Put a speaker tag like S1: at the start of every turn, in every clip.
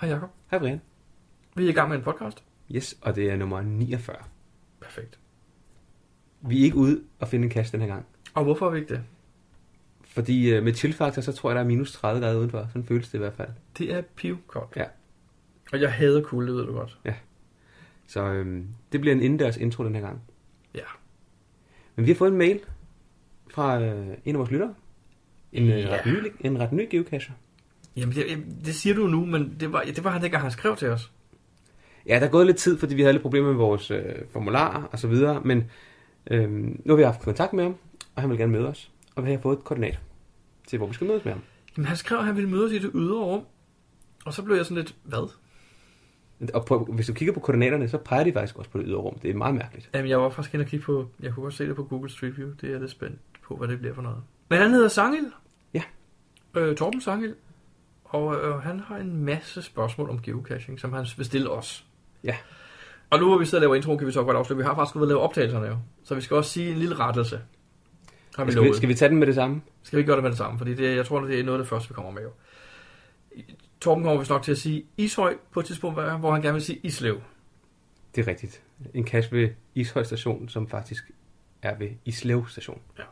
S1: Hej Jacob.
S2: Hej Brian.
S1: Vi er i gang med en podcast.
S2: Yes, og det er nummer 49.
S1: Perfekt.
S2: Vi er ikke ude og finde en kasse den her gang.
S1: Og hvorfor er vi ikke det?
S2: Fordi øh, med chillfaktor, så tror jeg, der er minus 30 grader udenfor. Sådan føles det i hvert fald.
S1: Det er pivkoldt.
S2: Ja.
S1: Og jeg hader kulde, det ved du godt.
S2: Så øhm, det bliver en indendørs intro den her gang.
S1: Ja.
S2: Men vi har fået en mail fra øh, en af vores lyttere. En, øh,
S1: Ja.
S2: ret ny, en ret ny geocacher.
S1: Jamen, det, jamen, det siger du nu, men det var, ja, det var han ikke, han skrev til os.
S2: Ja, der er gået lidt tid, fordi vi havde lidt problemer med vores øh, formularer og så videre. Men øh, nu har vi haft kontakt med ham, og han vil gerne møde os. Og vi har fået et koordinat til, hvor vi skal mødes med ham.
S1: Jamen, han skrev, at han ville mødes i det ydre rum. Og så blev jeg sådan lidt, hvad?
S2: Og på, hvis du kigger på koordinaterne, så peger de faktisk også på det ydre rum. Det er meget mærkeligt.
S1: Jamen, jeg var faktisk inde og kigge på, jeg kunne godt se det på Google Street View. Det er jeg lidt spændt på, hvad det bliver for noget. Men han hedder Sangel.
S2: Ja.
S1: Øh, Torben Sangel. Og øh, han har en masse spørgsmål om geocaching, som han vil stille os.
S2: Ja.
S1: Og nu hvor vi sidder og laver intro, kan vi så godt afsløre, vi har faktisk været lave optagelserne jo. Så vi skal også sige en lille rettelse. Har vi
S2: Altså, Skal vi,
S1: lovet.
S2: skal vi tage den med det samme?
S1: Skal vi ikke gøre det med det samme, fordi det, jeg tror, det er noget af det første, vi kommer med jo. Torben kommer vist nok til at sige Ishøj på et tidspunkt, hvor han gerne vil sige Islev.
S2: Det er rigtigt. En kasse ved Ishøj station, som faktisk er ved Islev station.
S1: Ja.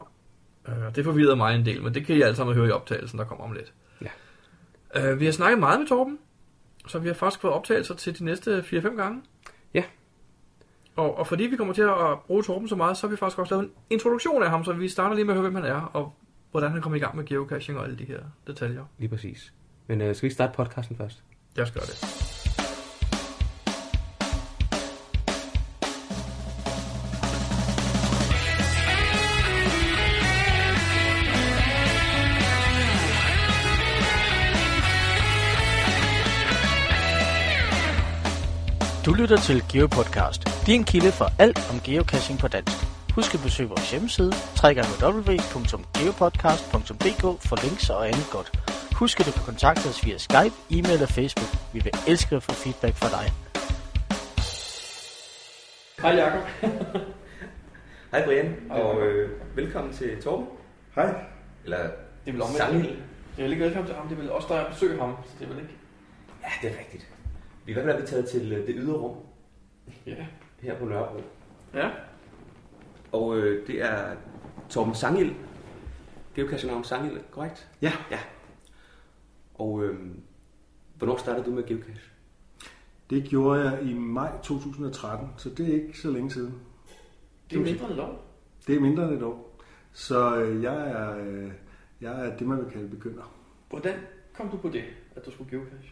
S1: Øh, det forvirrede mig en del, men det kan I alle sammen høre i optagelsen, der kommer om lidt.
S2: Ja.
S1: Øh, vi har snakket meget med Torben, så vi har faktisk fået optagelser til de næste 4-5 gange.
S2: Ja.
S1: Og, og fordi vi kommer til at bruge Torben så meget, så har vi faktisk også lavet en introduktion af ham, så vi starter lige med at høre, hvem han er, og hvordan han kom i gang med geocaching og alle de her detaljer.
S2: Lige præcis. Men øh, skal vi ikke starte podcasten først?
S1: Jeg skal gøre det.
S3: Du lytter til GeoPodcast, din kilde for alt om geocaching på dansk. Husk at besøge vores hjemmeside, www.geopodcast.dk for links og andet godt. Husk at du kan kontakte os via Skype, e-mail og Facebook. Vi vil elske at få feedback fra dig.
S2: Hej Jacob. Hej Brian, og øh, velkommen til Torben.
S4: Hej.
S2: Eller
S1: Det er vel omvendt.
S2: Sangel.
S1: Det er vel ikke velkommen til ham, det er vel også der besøger ham, så det er vel ikke...
S2: Ja, det er rigtigt. Vi er i hvert fald er vi taget til øh, det ydre rum
S1: Ja.
S2: her på Nørrebro.
S1: Ja.
S2: Og øh, det er Torben Sangild. Geocacher navn Sangild, korrekt?
S4: Ja.
S2: ja. Og øh, hvornår startede du med geocache?
S4: Det gjorde jeg i maj 2013, så det er ikke så længe siden.
S1: Det er mindre end lov.
S4: Det er mindre end et år. Så øh, jeg er, øh, jeg er det, man vil kalde begynder.
S1: Hvordan kom du på det, at du skulle geocache?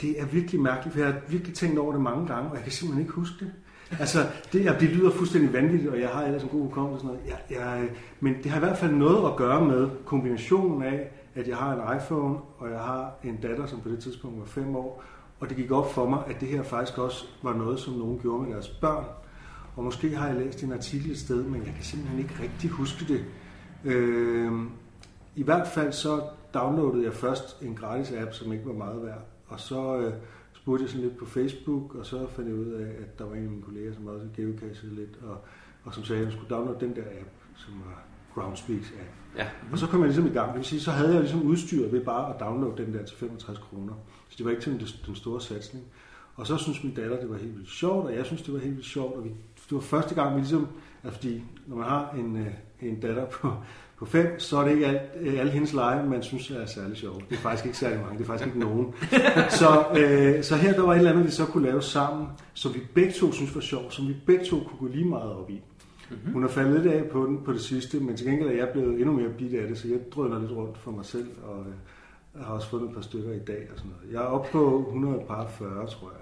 S4: Det er virkelig mærkeligt, for jeg har virkelig tænkt over det mange gange, og jeg kan simpelthen ikke huske det. Altså, det, jeg, det lyder fuldstændig vanvittigt, og jeg har ellers en god hukommelse og sådan noget. Jeg, jeg, øh, men det har i hvert fald noget at gøre med kombinationen af, at jeg har en iPhone, og jeg har en datter, som på det tidspunkt var fem år, og det gik op for mig, at det her faktisk også var noget, som nogen gjorde med deres børn. Og måske har jeg læst en artikel et sted, men jeg kan simpelthen ikke rigtig huske det. Øhm, I hvert fald så downloadede jeg først en gratis app, som ikke var meget værd. Og så øh, spurgte jeg sådan lidt på Facebook, og så fandt jeg ud af, at der var en af mine kolleger, som også geocachede lidt, og, og som sagde, at jeg skulle downloade den der app, som var Groundspeaks app.
S2: Ja.
S4: Og så kom jeg ligesom i gang. Det vil sige, så havde jeg ligesom udstyret ved bare at downloade den der til 65 kroner. Så det var ikke sådan det- den store satsning. Og så synes min datter, det var helt vildt sjovt, og jeg synes, det var helt vildt sjovt. Og vi, det var første gang, vi ligesom... Altså fordi, når man har en, øh, en datter på, på fem, så er det ikke alt, øh, alle hendes lege, man synes er særlig sjove. Det er faktisk ikke særlig mange, det er faktisk ikke nogen. Så, øh, så her der var et eller andet, vi så kunne lave sammen, som vi begge to synes var sjovt, som vi begge to kunne gå lige meget op i. Hun har faldet lidt af på den på det sidste, men til gengæld er jeg blevet endnu mere bidt af det, så jeg drøner lidt rundt for mig selv, og øh, har også fundet et par stykker i dag og sådan noget. Jeg er oppe på 140, tror jeg.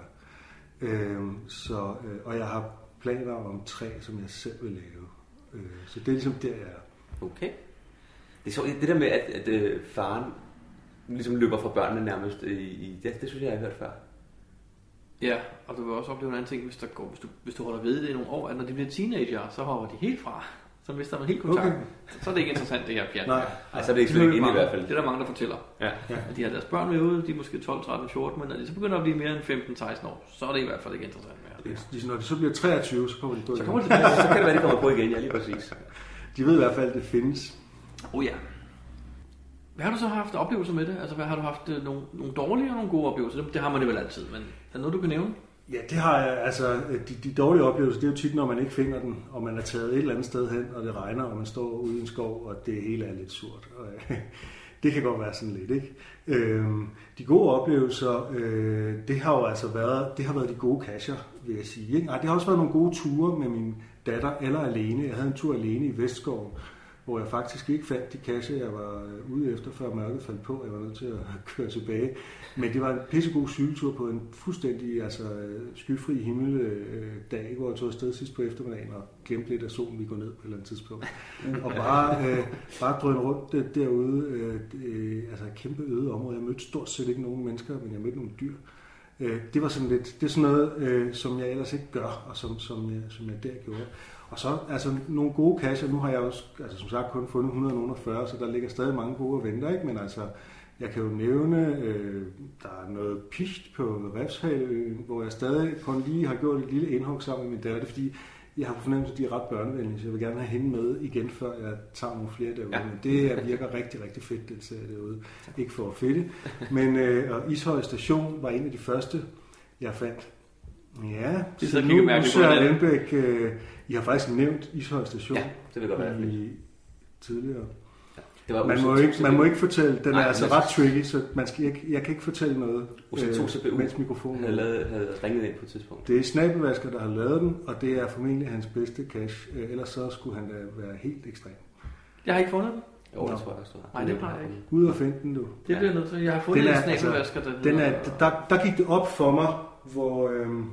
S4: Øhm, så, øh, og jeg har planer om tre, som jeg selv vil lave. Øh, så det er ligesom der, jeg er.
S2: Okay. Det, er så, det der med, at, at øh, faren ligesom løber fra børnene nærmest, øh, i, i, det, det synes jeg, jeg har hørt før.
S1: Ja, og du vil også opleve en anden ting, hvis, der går, hvis, du, hvis du holder ved det i nogle år, at når de bliver teenager, så hopper de helt fra. Så mister man helt kontakten. Okay. Så er det ikke interessant, det her pjat.
S4: Nej.
S2: Ej, så er Altså, det ikke så længe inde i hvert fald.
S1: Det er der mange, der fortæller.
S2: Ja.
S1: At de har deres børn med ude, de er måske 12, 13, 14, men når de så begynder at blive mere end 15, 16 år, så er det i hvert fald ikke interessant mere.
S4: De, når de så bliver 23, så kommer de på
S1: Så
S4: igen.
S1: kommer de
S2: så kan det være, det kommer på igen, ja lige præcis.
S4: De ved i hvert fald, at det findes.
S1: Oh ja. Oh Hvad har du så haft oplevelser med det? Altså, hvad har du haft øh, nogle, nogle dårlige og nogle gode oplevelser? Det, det har man jo vel altid, men er der noget, du kan nævne?
S4: Ja, det har jeg. Altså, de, de dårlige oplevelser, det er jo tit, når man ikke finder den, og man er taget et eller andet sted hen, og det regner, og man står ude i en skov, og det hele er lidt surt. Og, det kan godt være sådan lidt, ikke? Øhm, de gode oplevelser, øh, det har jo altså været, det har været de gode kasser, vil jeg sige. Ikke? Ej, det har også været nogle gode ture med min datter eller alene. Jeg havde en tur alene i Vestskoven, hvor jeg faktisk ikke fandt de kasser, jeg var ude efter, før mørket faldt på. Jeg var nødt til at køre tilbage. Men det var en pissegod cykeltur på en fuldstændig altså, skyfri himmel øh, dag, hvor jeg tog afsted sidst på eftermiddagen og glemte lidt, at solen ville gå ned på et eller andet tidspunkt. og bare, øh, bare drøne rundt øh, derude. Øh, øh, altså et kæmpe øde område. Jeg mødte stort set ikke nogen mennesker, men jeg mødte nogle dyr. Øh, det var sådan lidt, det er sådan noget, øh, som jeg ellers ikke gør, og som, som, jeg, som jeg der gjorde. Og så altså, nogle gode kasser. Nu har jeg også, altså, som sagt, kun fundet 140, så der ligger stadig mange gode og venter. Ikke? Men altså, jeg kan jo nævne, øh, der er noget pist på Refshaløen, hvor jeg stadig kun lige har gjort et lille indhug sammen med min datter, fordi jeg har på fornemmelse, at de er ret børnevenlige, så jeg vil gerne have hende med igen, før jeg tager nogle flere derude. Ja. Men det her virker rigtig, rigtig fedt, den serie derude. Ikke for at fedte. Men øh, og Ishøj Station var en af de første, jeg fandt. Ja,
S1: Det
S4: det
S1: sidder
S4: så
S1: og kigger
S4: nu, nu
S1: mærkeligt på
S4: Søren
S1: hinanden.
S4: Lindbæk, øh, I har faktisk nævnt Ishøj Station
S2: Ja, det vil godt være.
S4: i, tidligere.
S2: Det var
S4: Mm. Man
S2: Usse
S4: må, ikke, man må ikke fortælle, den
S2: Nej,
S4: er altså
S2: men-
S4: ret tricky, så man skal, jeg, jeg kan ikke fortælle noget, øh,
S2: Usatose BU.
S4: mens
S2: Han
S4: mikrofonen
S2: havde, lavet, havde ringet ind på et tidspunkt.
S4: det er Snabelvasker, der har lavet den, og det er formentlig hans bedste cash. Øh, Ellers så skulle han da være helt ekstrem.
S1: Jeg har ikke fundet den.
S2: Jo, det
S4: Nå.
S2: tror jeg også. det var.
S1: Nej, det plejer jeg ikke.
S4: Ud og finde den, du.
S1: Det bliver jeg nødt til. Jeg har fundet
S4: Den
S1: en
S4: er- altså,
S1: snabelvasker, der
S4: Den
S1: hedder-
S4: er, der, der gik det op for mig, hvor... Øhm,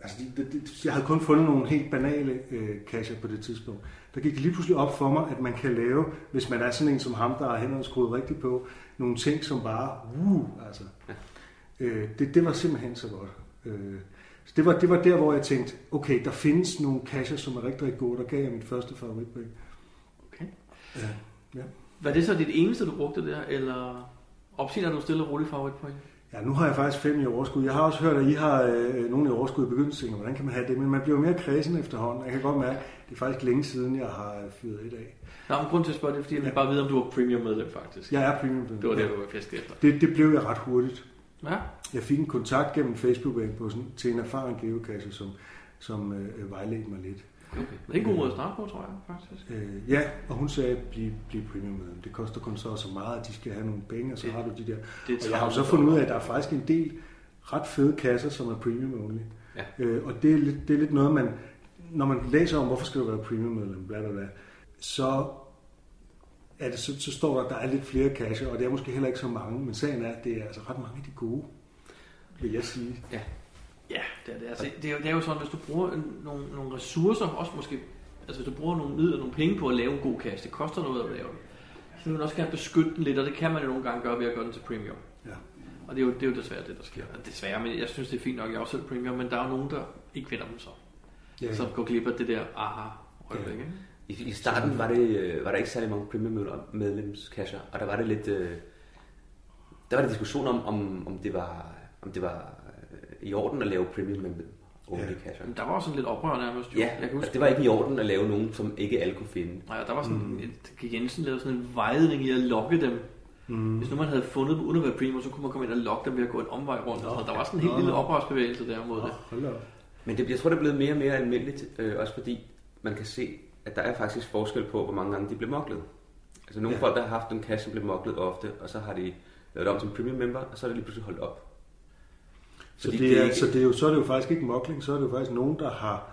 S4: altså, de, de, de, jeg havde kun fundet nogle helt banale øh, kasser på det tidspunkt. Der gik det lige pludselig op for mig, at man kan lave, hvis man er sådan en som ham, der har hænderne skruet rigtigt på, nogle ting, som bare... Uh, altså. Øh, det, det var simpelthen så godt. Øh, så det var, det var der, hvor jeg tænkte, okay, der findes nogle kasser, som er rigtig, rigtig gode. Der gav jeg mit første favoritbrik.
S1: Okay.
S4: Ja.
S1: Var det så dit eneste, du brugte der, eller opsigner du stille og roligt favoritpoint?
S4: Ja, nu har jeg faktisk fem i overskud. Jeg har også hørt, at I har øh, nogle i overskud i begyndelsen. Hvordan kan man have det? Men man bliver jo mere kredsen efterhånden. Jeg kan godt mærke, at det er faktisk længe siden, jeg har øh, fyret et af.
S1: Nå, men grund til at spørge det, er, fordi jeg vil
S4: Ja.
S1: bare vide, om du var premium medlem faktisk.
S4: Jeg er premium.
S1: Det var det, du var fæsket efter.
S4: det, det blev jeg ret hurtigt.
S1: Ja.
S4: Jeg fik en kontakt gennem Facebook på sådan, til en erfaren geokasse, som, som øh, vejledte mig lidt.
S1: Okay. Det er en god måde at starte på, tror jeg, faktisk.
S4: Øh, ja, og hun sagde, bliv, bliv premium medlem. Det koster kun så og så meget, at de skal have nogle penge, og så
S1: Det-
S4: har du de der.
S1: Det
S4: Og jeg har jo så fundet ud af, at der er faktisk en del ret fede kasser, som er premium only.
S2: Ja.
S4: Øh, og det er, lidt, det er lidt noget, man... Når man læser om, hvorfor skal du være premium medlem, bla bla bla, så, er det, så, så står der, at der er lidt flere kasser, og det er måske heller ikke så mange, men sagen er, at det er altså ret mange af de gode, vil jeg sige.
S1: Ja, det er det. Altså, det, er jo, det er jo sådan, hvis du bruger en, nogle, nogle ressourcer, også måske, altså hvis du bruger nogle midler, nogle penge på at lave en god kasse, det koster noget at lave den, så vil man også gerne beskytte den lidt, og det kan man jo nogle gange gøre ved at gøre den til premium.
S4: Ja.
S1: Og det er, jo, det er jo desværre det, der sker. Desværre, men jeg synes, det er fint nok, jeg er også selv premium, men der er jo nogen, der ikke vinder dem så. Ja. Som går glip af det der aha øjeblik, ikke?
S2: I, I starten var, det, øh, var der ikke særlig mange premium-medlemskasser, og der var det lidt... Øh, der var det diskussion om, om, om det var, om det var øh, i orden at lave premium-only-kasser.
S1: Men der var også sådan lidt oprør nærmest. Jo.
S2: Ja,
S1: jeg kan
S2: altså,
S1: huske,
S2: det var ikke i orden at lave nogen, som ikke alle kunne finde.
S1: Nej, der var sådan mm. et, Jensen lavede sådan en vejledning i at lokke dem. Mm. Hvis nu man havde fundet dem uden at være primo, så kunne man komme ind og lokke dem ved at gå en omvej rundt. Nå, og sådan. der var sådan en helt
S4: Nå,
S1: lille
S4: nå.
S1: oprørsbevægelse der mod det.
S4: Hold da op.
S2: Men det, jeg tror, det er blevet mere og mere almindeligt, øh, også fordi man kan se, at der er faktisk forskel på, hvor mange gange de blev moklet. Altså nogle ja.
S4: Ja.
S2: folk, der har haft en kasse, som blev moklet ofte, og så har de lavet det om som premium member, og så er det lige pludselig holdt op.
S4: Så, det er, så, det er jo, så er det jo faktisk ikke mokling, så er det jo faktisk nogen, der har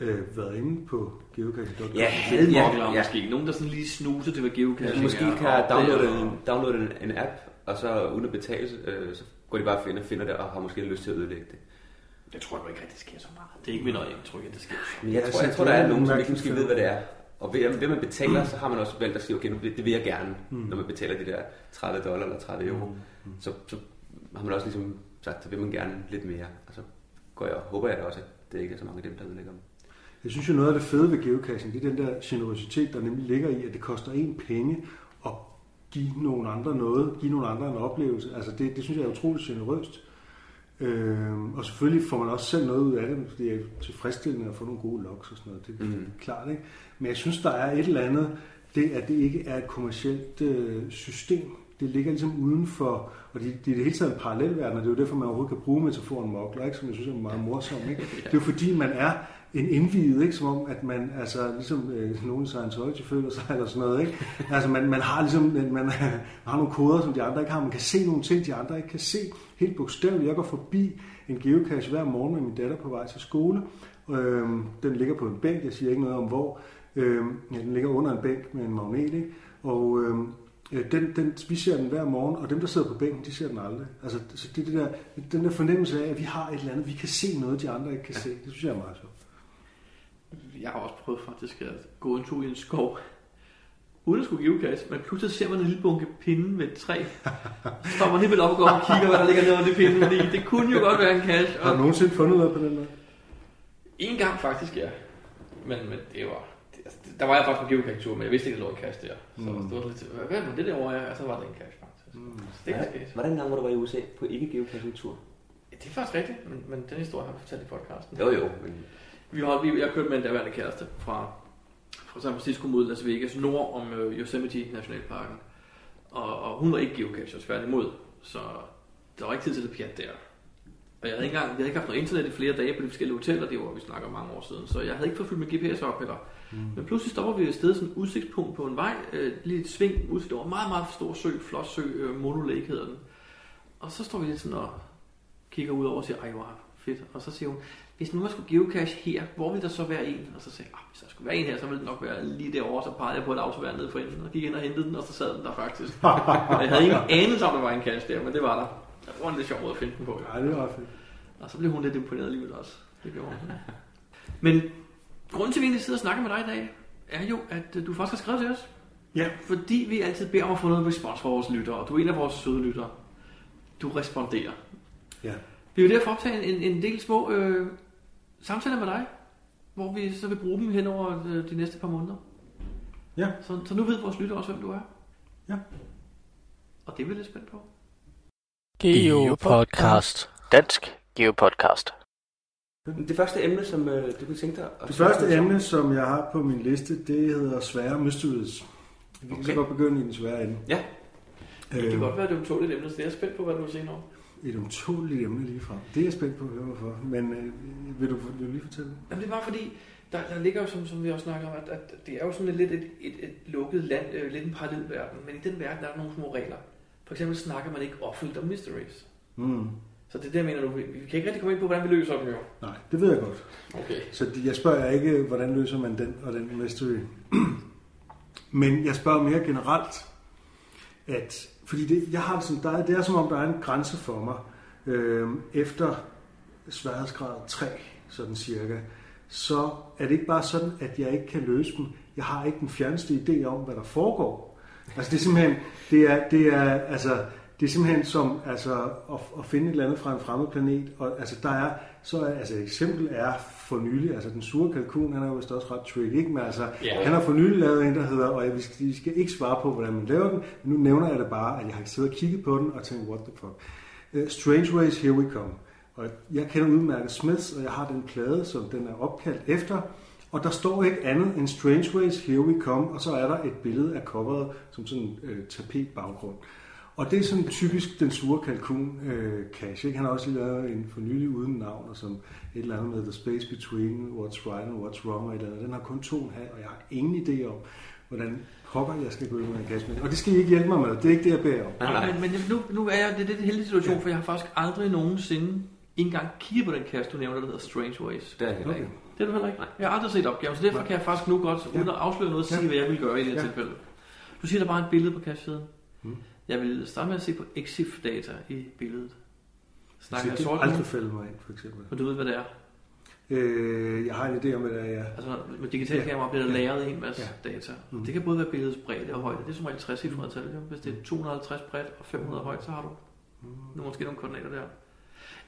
S4: øh, været inde på geocache.com.
S2: Ja.
S1: Havde
S2: Ja,
S1: ja,
S2: ja.
S1: måske. Nogen, der sådan lige snuser til, hvad geocaching
S2: Ja,
S1: er.
S2: Altså, måske kan jeg
S1: og det,
S2: downloade,
S1: og-
S2: en, downloade en, en app, og så uden at betale, øh, så går de bare og finder, finder det, og har måske lyst til at ødelægge det.
S1: Jeg tror jo ikke, at det sker så meget. Det er ikke mit øje indtryk, at det sker.
S2: Men jeg,
S4: Ja,
S2: tror,
S4: så
S2: jeg tror,
S4: det
S2: der
S4: er
S2: er nogen, som
S4: mærkeligt
S2: ikke måske
S4: for-
S2: ved, hvad det er. Og ved, ved man betaler, så har man også valgt at sige, okay, nu, det, det vil jeg gerne, mm. når man betaler de der 30 dollar eller 30 euro. Mm. Så, så har man også ligesom sagt, så vil man gerne lidt mere. Og så går jeg, håber jeg da også, at det ikke er så mange af dem, der ødelægger dem.
S4: Jeg synes jo, noget af det fede ved geocaching, det er den der generositet, der nemlig ligger i, at det koster en penge at give nogle andre noget, give nogle andre en oplevelse. Altså det, det synes jeg er utroligt generøst. Øhm, og selvfølgelig får man også selv noget ud af det, fordi det er tilfredsstillende at få nogle gode logs og sådan noget. Det, mm. det er klart, ikke? Men jeg synes, der er et eller andet, det at det ikke er et kommercielt øh, system. Det ligger ligesom udenfor, og det, det er i det hele taget en parallelverden, og det er jo derfor, man overhovedet kan bruge metaforen mokler, ikke? som jeg synes er meget morsom. Ikke? Det er jo fordi, man er en indviet, ikke? som om, at man, altså, ligesom øh, nogen i Scientology føler sig, eller sådan noget, ikke? Altså, man, man har ligesom, man, man har nogle koder, som de andre ikke har, man kan se nogle ting, de andre ikke kan se. Helt bogstaveligt, jeg går forbi en geocache hver morgen med min datter på vej til skole, Øhm, den ligger på en bænk, jeg siger ikke noget om hvor. Øhm, ja, den ligger under en bænk med en magnet, ikke? Og øhm, øh, den, den, vi ser den hver morgen, og dem, der sidder på bænken, de ser den aldrig. Altså, så det, er det der, den der fornemmelse af, at vi har et eller andet, vi kan se noget, de andre ikke kan se, det synes jeg er meget sjovt.
S1: Jeg har også prøvet faktisk at gå en tur i en skov, uden at skulle give gas, men pludselig ser man en lille bunke pinde ved et træ. Så står man helt vildt op og går op og kigger, hvad der ligger nede under det pinde, fordi det kunne jo godt være en kasse.
S4: Har
S1: Og
S4: du nogensinde fundet noget på den måde?
S1: en gang faktisk, ja. Men, men det var... Det, altså, det- der var jeg faktisk på geokarikatur, men jeg vidste ikke, at der lå en kasse der. Så mm. det var lidt... Hvad hvad var det derovre? Ja, Og så var der en kasse faktisk. Mm. Så det kan ske.
S2: Var der en gang, hvor du var i USA på ikke geocaching-tur?
S1: Ja, Det er faktisk rigtigt, men, men den historie har jeg fortalt i podcasten.
S2: Jo, jo. Men
S1: Vi holdt, vi, jeg kørte med en daværende kæreste fra, fra San Francisco mod Las Vegas, nord om øh, Yosemite Nationalparken. Og, og hun var ikke geocacher, tværtimod. Så der var ikke tid til det pjat der. Og jeg havde ikke, engang, jeg havde ikke haft noget internet i flere dage på de forskellige hoteller, det var vi snakker om mange år siden. Så jeg havde ikke fået fyldt min GPS op heller. Mm. Men pludselig stopper vi et sted, sådan et udsigtspunkt på en vej, øh, lige et sving, udsigt over en meget, meget stor sø, flot sø, øh, Mono Lake hedder den. Og så står vi lidt sådan og kigger ud over og siger, ej, hvor fedt. Og så siger hun, hvis nu man skulle geocache her, hvor ville der så være en? Og så sagde jeg, "Ah, hvis der skulle være en her, så ville den nok være lige derovre. Så pegede jeg på et autovær nede for enden, og gik ind og hentede den, og så sad den der faktisk. og jeg havde ingen anelse om, der var en cache der, men det var der. Det var en lidt sjov måde at finde den på.
S4: Nej, det var fedt.
S1: Og så blev hun lidt imponeret alligevel også. Det gjorde hun. Men grunden til, at vi egentlig sidder og snakker med dig i dag, er jo, at øh, du faktisk har skrevet til os.
S4: Ja.
S1: Fordi vi altid beder om at få noget respons fra vores lyttere, og du er en af vores søde lyttere. Du responderer.
S4: Ja.
S1: Vi vil derfor optage en, en del små øh, samtaler med dig, hvor vi så vil bruge dem hen over øh, de næste par måneder.
S4: Ja.
S1: Så, så nu ved vores lytter også, hvem du er.
S4: Ja.
S1: Og det er vi lidt spændt på.
S3: Geopodcast. Dansk Geopodcast.
S2: det første emne, som øh, du kunne tænke dig... at-
S4: Det første emne, som jeg har på min liste, det hedder svære mysteries. Vi kan så
S2: Okay.
S4: godt begynde i den svære ende.
S2: Ja.
S1: Det kan
S4: Øhm,
S1: godt være, at det er et tåligt emne, så jeg er spændt på, hvad du vil sige nu.
S4: Et umtåligt emne lige frem. Det er jeg spændt på at høre, hvorfor. Men øh, vil, du, vil du lige fortælle det?
S1: Jamen, det er bare fordi, der, der ligger jo, som, som vi også snakker om, at, at det er jo sådan lidt et, et, et lukket land, øh, lidt en parallel verden. Men i den verden er der nogle små regler. For eksempel snakker man ikke offentligt om mysteries.
S4: Mm.
S1: Så det er det, jeg mener nu. Vi vi kan ikke rigtig komme ind på, hvordan vi løser dem jo.
S4: Nej, det ved jeg godt.
S1: Okay.
S4: Så de- jeg spørger ikke, hvordan løser man den og den mystery. Men jeg spørger mere generelt, at fordi det, jeg har det, sådan, der er, det er som om, der er en grænse for mig øh, efter sværhedsgrad 3, sådan cirka, så er det ikke bare sådan, at jeg ikke kan løse dem. Jeg har ikke den fjerneste idé om, hvad der foregår. Altså det er simpelthen, det er, det er, altså, det er simpelthen som altså, at, at finde et eller andet fra en fremmed planet. Og, altså, der er, så er, altså, et eksempel er for nylig, altså den sure kalkun, han er jo vist også ret tricky, ikke? Men altså,
S1: Ja.
S4: ja. han har for nylig lavet en, der hedder, og jeg, vi, skal, vi skal ikke svare på, hvordan man laver den, men nu nævner jeg det bare, at jeg har siddet og kigget på den og tænkt, what the fuck. Øh, Strange Ways, Here We Come. Og jeg kender udmærket Smiths, og jeg har den plade, som den er opkaldt efter. Og der står ikke andet end Strange Ways, Here We Come, og så er der et billede af coveret som sådan en øh, tapetbaggrund. Og det er sådan typisk den sure kalkun øh, cash, ikke? Han har også lige lavet en for nylig uden navn, og som et eller andet med The Space Between, What's Right and What's Wrong, og et eller andet. Den har kun to og en halv, og jeg har ingen idé om, hvordan pokker jeg skal gå ud med en cash. Og det skal I ikke hjælpe mig med, det er ikke det, jeg beder om.
S2: Nej, nej.
S1: Men, men nu, nu er jeg, det er lidt en heldig situation, for jeg har faktisk aldrig nogensinde ikke engang kigget på den kast, du nævner, der hedder Strange Ways.
S2: Det er jeg heller
S4: Okay.
S2: ikke.
S1: Det er du heller ikke. Jeg har aldrig set opgaven, så derfor kan jeg faktisk nu godt, uden at afsløre noget, sige,
S4: Ja.
S1: hvad jeg ville gøre i det her
S4: Ja. Mm.
S1: tilfælde. Du siger, der bare er et billede på kastsiden. Jeg vil starte med at se på EXIF-data i billedet. Snakker jeg
S4: det
S1: sort
S4: har
S1: nu?
S4: aldrig faldet mig ind, for eksempel.
S1: Men du ved, hvad det er.
S4: Øh, jeg har en idé om, hvad der er.
S1: Altså, med digitale
S4: Ja.
S1: kameraer bliver der
S4: Ja.
S1: lagret en masse data.
S4: Mm.
S1: Det kan både være billedets bredde og højde. Det er som regel 60 cifre tal. jo. Hvis det er 250 bredt og 500 højt, så har du
S4: Mm.
S1: nu måske nogle koordinater der.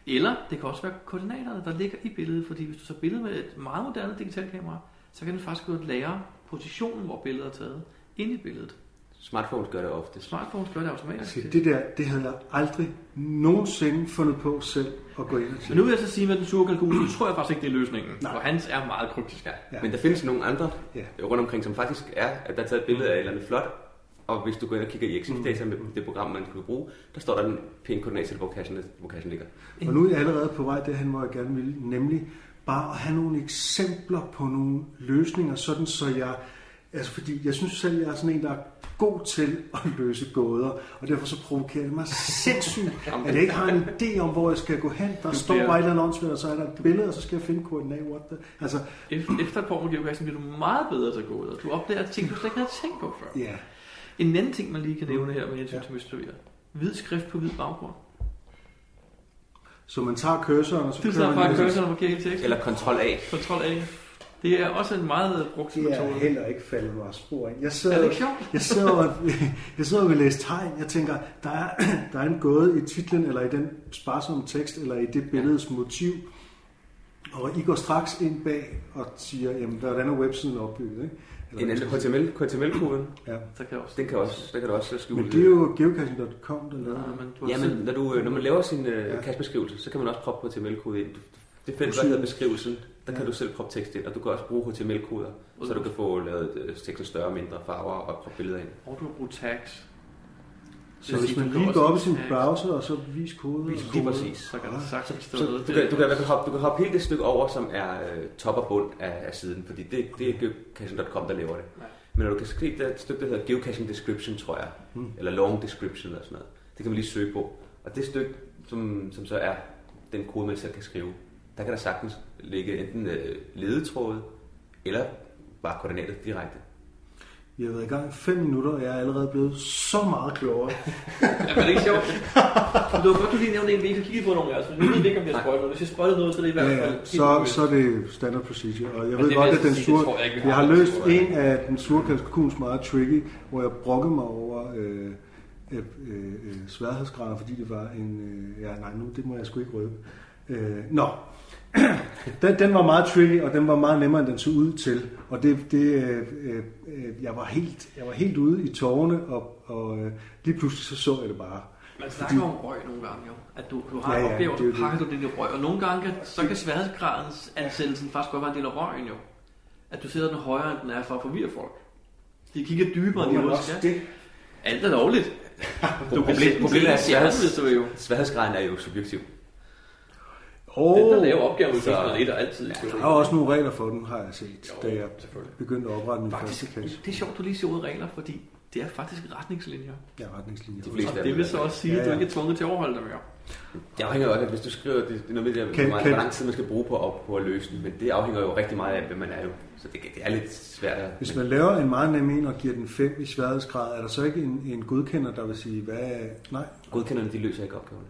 S1: Eller det kan også være koordinaterne, der ligger i billedet. Fordi hvis du tager billedet med et meget moderne digitalt kamera, så kan den faktisk gå og lære positionen, hvor billedet er taget, ind i billedet.
S2: Smartphones gør det ofte.
S1: Smartphones gør det automatisk.
S4: Se, Altså, det der, det havde jeg aldrig nogensinde fundet på selv at gå ind og
S1: Men nu
S4: tjekke.
S1: vil jeg så sige med den sure kalkun, så tror jeg faktisk ikke, det er løsningen.
S4: Nej.
S1: For hans er meget kryptisk.
S2: Ja.
S4: Ja.
S2: ja. Men der findes nogle andre
S4: Ja.
S2: ja. rundt omkring, som faktisk er, at der er taget et billede af et eller andet flot, og hvis du går ind og kigger i Excel-data med det program, man kan bruge, der står der den pæne koordinat til, hvor cashen, hvor cashen ligger.
S4: Og nu er jeg allerede på vej derhen, hvor jeg gerne vil, nemlig bare at have nogle eksempler på nogle løsninger, sådan så jeg, altså fordi jeg synes selv, jeg er sådan en, der er god til at løse gåder, og derfor så provokerer det mig sindssygt, at jeg ikke har en idé om, hvor jeg skal gå hen. Der står
S1: bliver-
S4: bare et eller andet åndssvagt, og så er der et billede, og så skal jeg finde koordinat. What the... Altså,
S1: Ef- Efter et par år med geocaching bliver du meget bedre til at gå ud, og du opdager ting, du slet ikke havde tænkt på før.
S4: ja,
S1: En anden ting, man lige kan nævne her med hensyn
S4: Ja.
S1: til mysterier. Hvid skrift på hvid baggrund.
S4: så man tager cursoren, og så
S1: Det er
S4: kører
S1: så
S4: man
S1: bare
S4: ned.
S1: kørselen på hele teksten.
S2: Eller kontrol A.
S1: Kontrol A. Det er også en meget brugt
S4: Det er
S1: metode.
S4: heller ikke faldet mig spor ind. Jeg
S1: Er det
S4: sidder,
S1: ikke sjovt?
S4: jeg sidder, og, jeg sidder og vil læse tegn. Jeg tænker, der er, der er en gåde i titlen, eller i den sparsomme tekst, eller i det billedes motiv. Og I går straks ind bag og siger, jamen, hvordan er websiden opbygget? Ikke?
S2: En anden HTML, HTML-koden,
S4: Ja.
S1: Så kan jeg også.
S2: den kan også, der kan du også skjule.
S4: Men det er jo geocaching.com, der
S1: Nå,
S4: laver det.
S1: men du har
S2: Ja, men
S1: selv-
S2: når, du, øh, når man laver sin øh,
S4: Ja.
S2: kastbeskrivelse, så kan man også proppe HTML-kode ind. Det felt,
S4: Musik.
S2: der hedder beskrivelsen, der
S4: Ja.
S2: kan du selv proppe tekst ind, og du kan også bruge HTML-koder, så du kan få lavet øh, teksten større og mindre farver og proppe billeder ind.
S1: Og du har brugt tags.
S4: Så hvis man lige går op i sin browser, og så vis koden.
S1: Vis
S4: og-
S2: Lige
S1: kode,
S2: præcis.
S1: så kan du sagtens stå
S2: Så
S1: ved
S2: du
S1: det.
S2: kan, du, kan, du, kan hoppe, du kan hoppe hele det stykke over, som er øh, top og bund af, af siden, fordi det, det er geocaching.com, der laver det.
S1: Ja.
S2: Men når du kan skrive det stykke, der hedder geocaching description, tror jeg,
S4: Mm.
S2: eller long description eller sådan noget, det kan man lige søge på. Og det stykke, som, som så er den kode, man selv kan skrive, der kan der sagtens ligge enten øh, ledetråde, eller bare koordinatet direkte.
S4: Vi har været i gang i fem minutter, og jeg er allerede blevet så meget klogere.
S1: Ja, men det er ikke sjovt. Men det var godt, du lige nævnte en, vi ikke har kigget på nogen af os. men Nu ved vi ikke, om vi har spøjt noget. Hvis jeg spøjtede noget, så er det i hvert
S4: Ja,
S1: fald...
S4: ja. Så, så er det standard procedure. Og jeg
S1: Men
S4: ved
S1: det
S4: godt,
S1: vil
S4: at
S1: jeg
S4: den
S1: sige,
S4: sure...
S1: det tror jeg ikke, vi har.
S4: Jeg har løst
S1: Det tror jeg
S4: en af den sure kalkuns meget tricky, hvor jeg brokkede mig over øh, øh, øh, øh, sværhedsgrader, fordi det var en... Øh, ja, nej, nu, det må jeg sgu ikke røbe. Øh, nå. den, den var meget tricky, og den var meget nemmere, end den så ud til. Og det... det øh, øh, øh, jeg, var helt, jeg var helt ude i tårerne, og, og øh, lige pludselig så så jeg det bare.
S1: Man snakker om røg nogle gange, jo. At du, du har
S4: Ja,
S1: ja,
S4: ja,
S1: ja, opgaver,
S4: det er
S1: så
S4: jo
S1: pakker du det i røg. Og nogle gange, kan, så kan sværhedsgradens ansættelsen faktisk godt være en del af røgen, jo. At du sætter den højere, end den er, for at forvirre folk. De kigger dybere, end de
S4: Men
S1: også
S4: også
S1: skal.
S4: det,
S1: Alt er lovligt. Du kan
S2: Problem-
S1: sætte den
S2: problemet
S1: til
S2: er,
S1: at stjerne,
S2: sværheds-
S1: hvis du vil jo.
S2: Sværhedsgraden er jo subjektiv.
S4: oh,
S1: Den, der laver opgaven, så
S2: Så-
S1: er det der altid. jo.
S4: Der er også nogle regler for den, har jeg set,
S1: Jo,
S4: da jeg
S1: selvfølgelig.
S4: begyndte at oprette min første
S1: Faktisk,
S4: kasse.
S1: det er sjovt, du lige ser ud af regler, fordi det er faktisk retningslinjer.
S4: Ja, retningslinjer.
S2: De fleste.
S1: Og
S2: er
S1: det
S2: det.
S1: vil så også sige, at
S4: Ja,
S1: du
S4: ja.
S1: ikke er tvunget til at overholde dem, jo.
S2: Det afhænger jo også, at hvis du skriver, det er noget med, det,
S4: Kan-
S2: hvor, meget,
S4: kan-
S2: hvor lang tid man skal bruge på at, på at løse den, men det afhænger jo rigtig meget af, hvem man er jo. Så det, det er lidt svært at...
S4: Hvis man laver en meget nem en og giver den 5 i sværhedsgrad, er der så ikke en, en godkender, der vil sige, hvad... Nej,
S2: Godkenderne, de løser ikke opgaverne.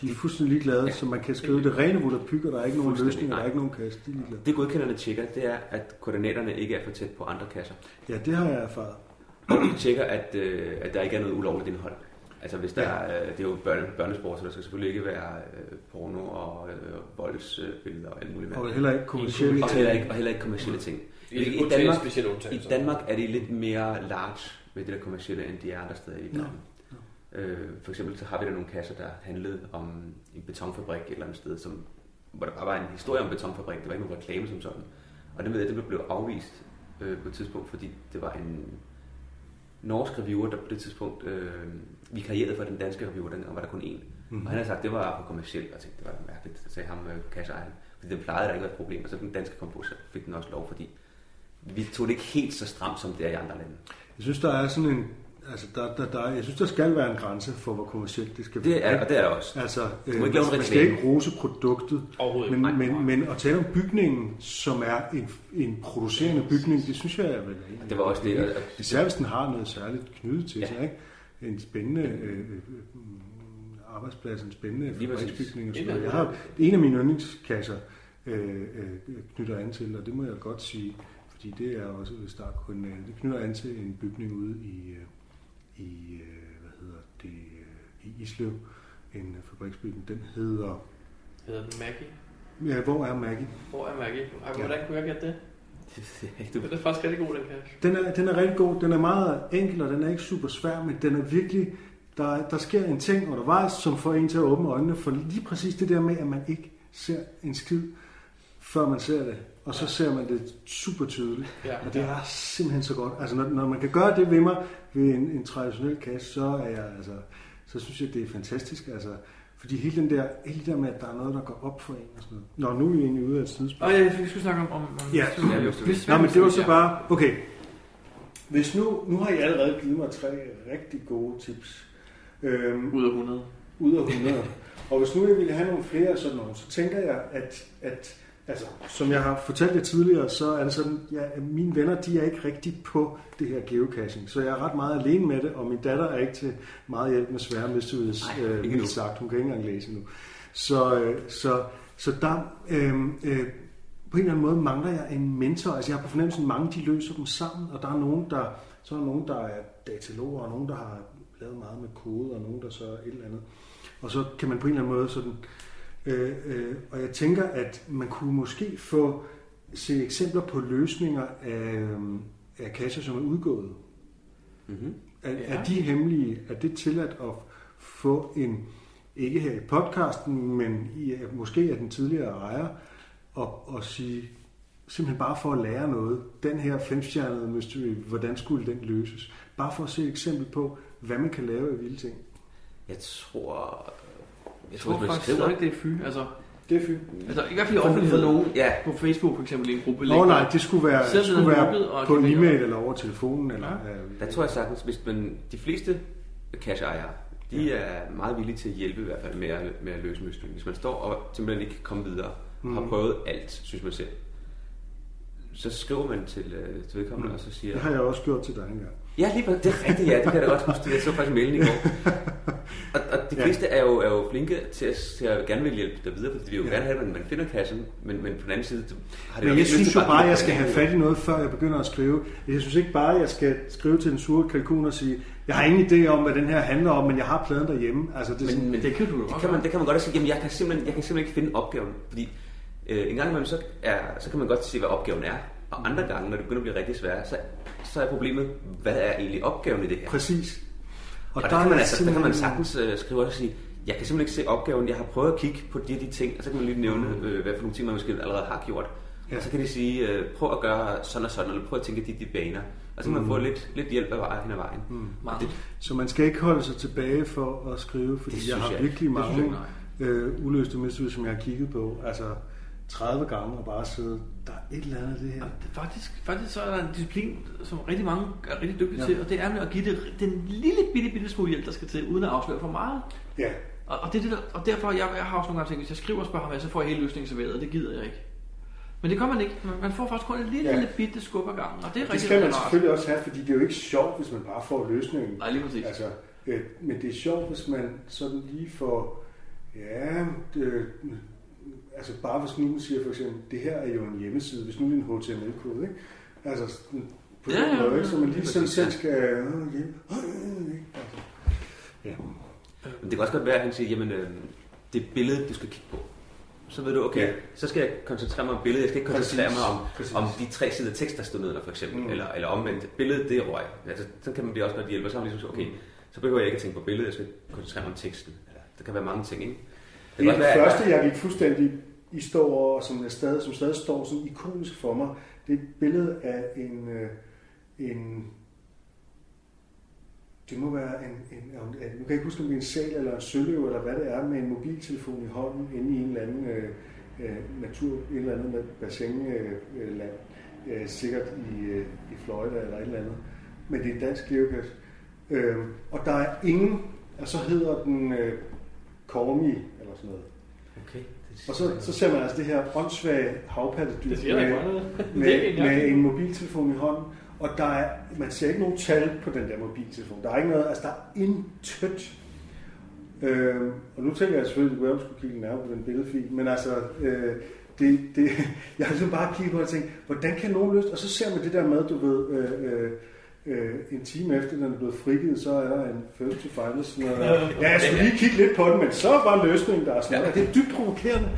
S4: de er fuldstændig ligeglade, ja. så man kan skrive det rene vulderpyg, og der er ikke nogen
S2: Fuldstændig,
S4: løsninger, der er
S2: nej.
S4: ikke nogen kasse, de er ligeglade.
S2: Det godkenderne tjekker, det er, at koordinaterne ikke er for tæt på andre kasser.
S4: Ja, det har jeg erfaret.
S2: Og de tjekker, at, øh, at der ikke er noget ulovligt indhold. Altså hvis der er, øh, det er jo børne, børnesport, så der skal selvfølgelig ikke være øh, porno og øh, voldsbilleder og alt muligt
S4: Og
S2: andet.
S4: heller ikke kommersielle
S2: Og heller ikke,
S4: ting.
S2: og heller ikke kommersielle ting.
S5: Det er
S2: I,
S5: kun til
S2: Danmark,
S5: specielle
S2: I
S5: undtagelser.
S2: Danmark er de lidt mere large med det der kommercielle, end de er andre steder i
S4: Nå.
S2: verden. Øh, for eksempel så har vi der nogle kasser, der handlede om en betonfabrik et eller andet sted, som, hvor der bare var en historie om en betonfabrik. Det var ikke nogen reklame som sådan. Og det ved jeg, det blev afvist øh, på et tidspunkt, fordi det var en norsk reviewer, der på det tidspunkt øh, vikarierede for den danske reviewer, dengang var der kun én. Mm. Og han havde sagt, det var for kommercielt, og jeg tænkte, det var mærkeligt, så sagde ham øh, kasseejeren. Fordi den plejede der ikke at være et problem, og så den danske kom på, så fik den også lov, fordi vi tog det ikke helt så stramt, som det er i andre lande.
S4: Jeg synes, der er sådan en... Altså, der, der, der, jeg synes, der skal være en grænse for, hvor kommercielt det skal være.
S2: Det er, og det er der også.
S4: Altså, øh,
S2: må
S4: man,
S2: ikke lave en
S4: man skal
S2: reklame.
S4: ikke rose produktet,
S5: Overhovedet
S4: men,
S5: ikke. Nej,
S4: men,
S5: nej.
S4: men at tale om bygningen, som er en, en producerende bygning, det synes jeg er vel egentlig-
S2: Det var også det, og-
S4: Især hvis den har noget særligt knyttet til
S2: Ja.
S4: sig, ikke? En spændende øh, øh, arbejdsplads, en spændende
S2: Lige præcis.
S4: fabriksbygning og sådan noget. Jeg har en af mine yndlingskasser øh, øh, knytter an til, og det må jeg godt sige, fordi det er også ved start kun, øh, det knytter an til en bygning ude i, øh, i øh, hvad hedder det, øh, i Islev, en øh, fabriksbygning, den hedder,
S1: Hedder den Maggie?
S4: ja, hvor er Maggie?
S1: Hvor er Maggie? Ej,
S4: Ja.
S1: hvordan kunne jeg gætte det?
S2: du,
S1: Den er faktisk rigtig god, den cash.
S4: Den er, den er rigtig god, den er meget enkel, og den er ikke super svær, men den er virkelig, der, der sker en ting undervejs, som får en til at åbne øjnene for lige præcis det der med, at man ikke ser en skid, før man ser det. Og så ser man det super tydeligt.
S1: Ja.
S4: Og det er simpelthen så godt. Altså, når, når man kan gøre det ved mig ved en, en traditionel kasse, så er jeg, altså, så synes jeg, det er fantastisk. Altså, fordi hele den der, hele det der med, at der er noget, der går op for en og sådan noget. Nå, nu er vi egentlig ude af et sidespil.
S1: Og jeg, vi skulle snakke om... om, om
S4: Ja.
S2: Ja, det var
S1: Hvis-
S2: så-
S4: Nå, men det var så bare, okay. Hvis nu, nu har I allerede givet mig tre rigtig gode tips. Øhm,
S1: Ud af 100.
S4: ud af 100. Og hvis nu jeg ville have nogle flere af sådan nogle, så tænker jeg, at, at altså, som jeg har fortalt jer tidligere, så er det sådan, ja, at mine venner, de er ikke rigtig på det her geocaching. Så jeg er ret meget alene med det, og min datter er ikke til meget hjælp med svære mysteries,
S2: Ej,
S4: øh,
S2: ikke
S4: vildt
S2: nu.
S4: sagt. Hun kan ikke engang læse nu. Så, øh, så, så der, øh, øh, på en eller anden måde mangler jeg en mentor. Altså jeg har på fornemmelsen, at mange de løser dem sammen, og der er nogen, der, så er der nogen, der er dataloger, og nogen, der har lavet meget med kode, og nogen, der så er et eller andet. Og så kan man på en eller anden måde sådan... Øh, øh, og jeg tænker, at man kunne måske få se eksempler på løsninger af, øhm, af kasser, som er udgået.
S2: Mhm.
S4: Er, ja.
S1: Ja.
S4: er de hemmelige? Er det tilladt at få en, ikke her i podcasten, men i, måske af den tidligere ejer, og, og sige, simpelthen bare for at lære noget, den her femstjernede mystery, hvordan skulle den løses? Bare for at se et eksempel på, hvad man kan lave af vilde ting.
S2: Jeg tror... øh, Jeg
S1: Jeg
S2: tror,
S1: tror
S2: hvis man
S1: faktisk stadig,
S2: skriver...
S1: det er fy. Altså,
S4: Det er fint.
S1: altså i hvert fald i
S2: For- for
S1: offentligheden.
S2: nogen, Uh, ja.
S1: På Facebook for eksempel i en gruppe.
S4: Nå
S1: lægger-
S4: nej, det skulle være,
S1: Selv
S4: det skulle
S1: ved
S4: være
S1: lukket, og
S4: på
S1: det
S4: en
S1: ligger-
S4: e-mail eller over telefonen. Eller, øh,
S2: Der tror jeg sagtens, hvis man... De fleste cash-ejere, de er meget villige til at hjælpe i hvert fald med at, med at løse myslen. Hvis man står og simpelthen ikke kan komme videre, mm.
S1: Mhm.
S2: har prøvet alt, synes man selv, så skriver man til, øh, til vedkommende,
S1: Mhm.
S2: mm. og så siger...
S4: Det har jeg også gjort til dig engang.
S2: Ja, lige præcis. Det er rigtigt, ja. Det kan jeg da godt huske. Jeg så faktisk mailen i går. Og, og de
S4: Ja.
S2: fleste er, jo, er jo flinke til at, til at gerne vil hjælpe dig videre, fordi de vil jo
S4: Ja.
S2: ja. gerne have, at man finder kassen, men, men på den anden side så har det
S4: Men jeg
S2: ikke lyst
S4: synes
S2: til
S4: jo bare, at
S2: at
S4: jeg skal have fat i noget, før jeg begynder at skrive. Jeg synes ikke bare, at jeg skal skrive til den sure kalkun og sige, jeg har ingen idé om, hvad den her handler om, men jeg har pladen derhjemme. Altså, det er sådan,
S2: Men, men
S1: Det kan du jo
S2: det
S1: godt
S2: kan, man,
S1: gøre.
S2: det kan man godt sige, jamen jeg kan simpelthen, jeg kan simpelthen ikke finde opgaven, fordi øh, en gang imellem, så, er, så kan man godt se, hvad opgaven er, og andre gange, når det begynder at blive rigtig svært, så, så er problemet, hvad er egentlig opgaven i det her?
S4: præcis.
S2: Og, og der, der, kan
S4: er
S2: man, altså, der kan man
S4: simpelthen-
S2: sagtens øh, skrive og sige, jeg kan simpelthen ikke se opgaven, jeg har prøvet at kigge på de og de ting, og så kan man lige nævne, øh, hvad for nogle ting, man måske allerede har gjort.
S4: Ja.
S2: Ja. Og så kan de sige, øh, prøv at gøre sådan og sådan, eller prøv at tænke de, de baner. Og så kan man få lidt, lidt hjælp af vejen hen ad vejen. Mm.
S1: Meget.
S4: Så man skal ikke holde sig tilbage for at skrive, fordi
S2: Det
S4: jeg
S2: synes
S4: har
S2: jeg ikke.
S4: virkelig
S1: Det synes
S4: mange
S1: jeg
S4: øh, uløste mysteries, som jeg har kigget på. Altså 30 gange og bare sidde, der er et eller andet af det her.
S1: Ja, det er Faktisk, faktisk så er der en disciplin, som rigtig mange er rigtig dygtige
S4: Ja.
S1: ja. til, og det er med at give det den lille bitte, bitte smule hjælp, der skal til, uden at afsløre for meget.
S4: Ja,
S1: Og, og, det, er det der, og derfor, jeg, jeg har også nogle gange tænkt, hvis jeg skriver og spørger ham, så får jeg hele løsningen serveret, og det gider jeg ikke. Men det gør man ikke. Man, man får faktisk kun en lille,
S4: Ja.
S1: ja. lille bitte skub ad gangen, og det er
S4: Det
S1: rigtig,
S4: skal man
S1: rigtig rart.
S4: selvfølgelig også have, fordi det er jo ikke sjovt, hvis man bare får løsningen.
S1: Nej, lige præcis.
S4: Altså, øh, men det er sjovt, hvis man sådan lige får... Ja, det, altså bare hvis nu man siger for eksempel, det her er jo en hjemmeside, hvis nu det er en HTML-kode, ikke? Altså sådan på
S1: Ja,
S4: den
S1: ja,
S4: måde,
S1: ja.
S4: ikke? så man lige
S2: Lige
S4: sådan
S2: præcis,
S4: selv
S2: ja.
S4: skal... Øh, hjælp. Øh, ikke? Altså, ja.
S2: Men det kan også godt være, at han siger, jamen øh, det er billedet, du skal kigge på. Så ved du, okay,
S4: Ja.
S2: ja. så skal jeg koncentrere mig om billedet. Jeg skal ikke koncentrere
S4: Præcis.
S2: mig om, om
S4: Præcis.
S2: de tre sider tekst, der stod nedenunder, for eksempel.
S4: Mm.
S2: Mm. Eller, eller omvendt, billedet, det er røg. Altså, så kan man blive også godt hjælpe. Og så har man ligesom, okay, så behøver jeg ikke at tænke på billedet, jeg skal koncentrere mig om teksten. Eller, der kan være mange ting, ikke? Det kan
S4: Det er
S2: godt være,
S4: det
S2: at-
S4: første, jeg gik fuldstændig i står over, og som, jeg stadig, som stadig står sådan ikonisk for mig. Det er et billede af en... Øh, en det må være en, en, en, en, nu kan jeg ikke huske, om det er en sal eller en søløv, eller hvad det er, med en mobiltelefon i hånden inde i en eller anden øh, øh, natur, et eller andet med bassinland, øh, øh, land. øh, sikkert i, øh, i Florida eller et eller andet. Men det er en dansk geocache. Øh, og der er ingen, og så hedder den øh, Kormi, eller sådan noget.
S2: Okay. Det
S4: Og så, så ser man altså det her åndssvage havpattedyr
S1: Det siger der ikke
S4: med,
S1: meget noget. Det er
S4: med,
S1: ikke
S4: med
S1: engang-
S4: en mobiltelefon i hånden. Og der er, man ser ikke nogen tal på den der mobiltelefon. Der er ikke noget, altså der er intet. Øhm, og nu tænker jeg selvfølgelig, at jeg skulle kigge nærmere på den billedfil, men altså, øh, det, det, jeg har ligesom bare kigget på det og tænkt, hvordan kan nogen løse Og så ser man det der med, du ved, øh, øh, øh, en time efter den er blevet frigivet, så er der en first to final sådan noget. Ja, jeg skulle lige kigge lidt på den, men så var løsningen der. er Sådan, ja. Det er dybt provokerende.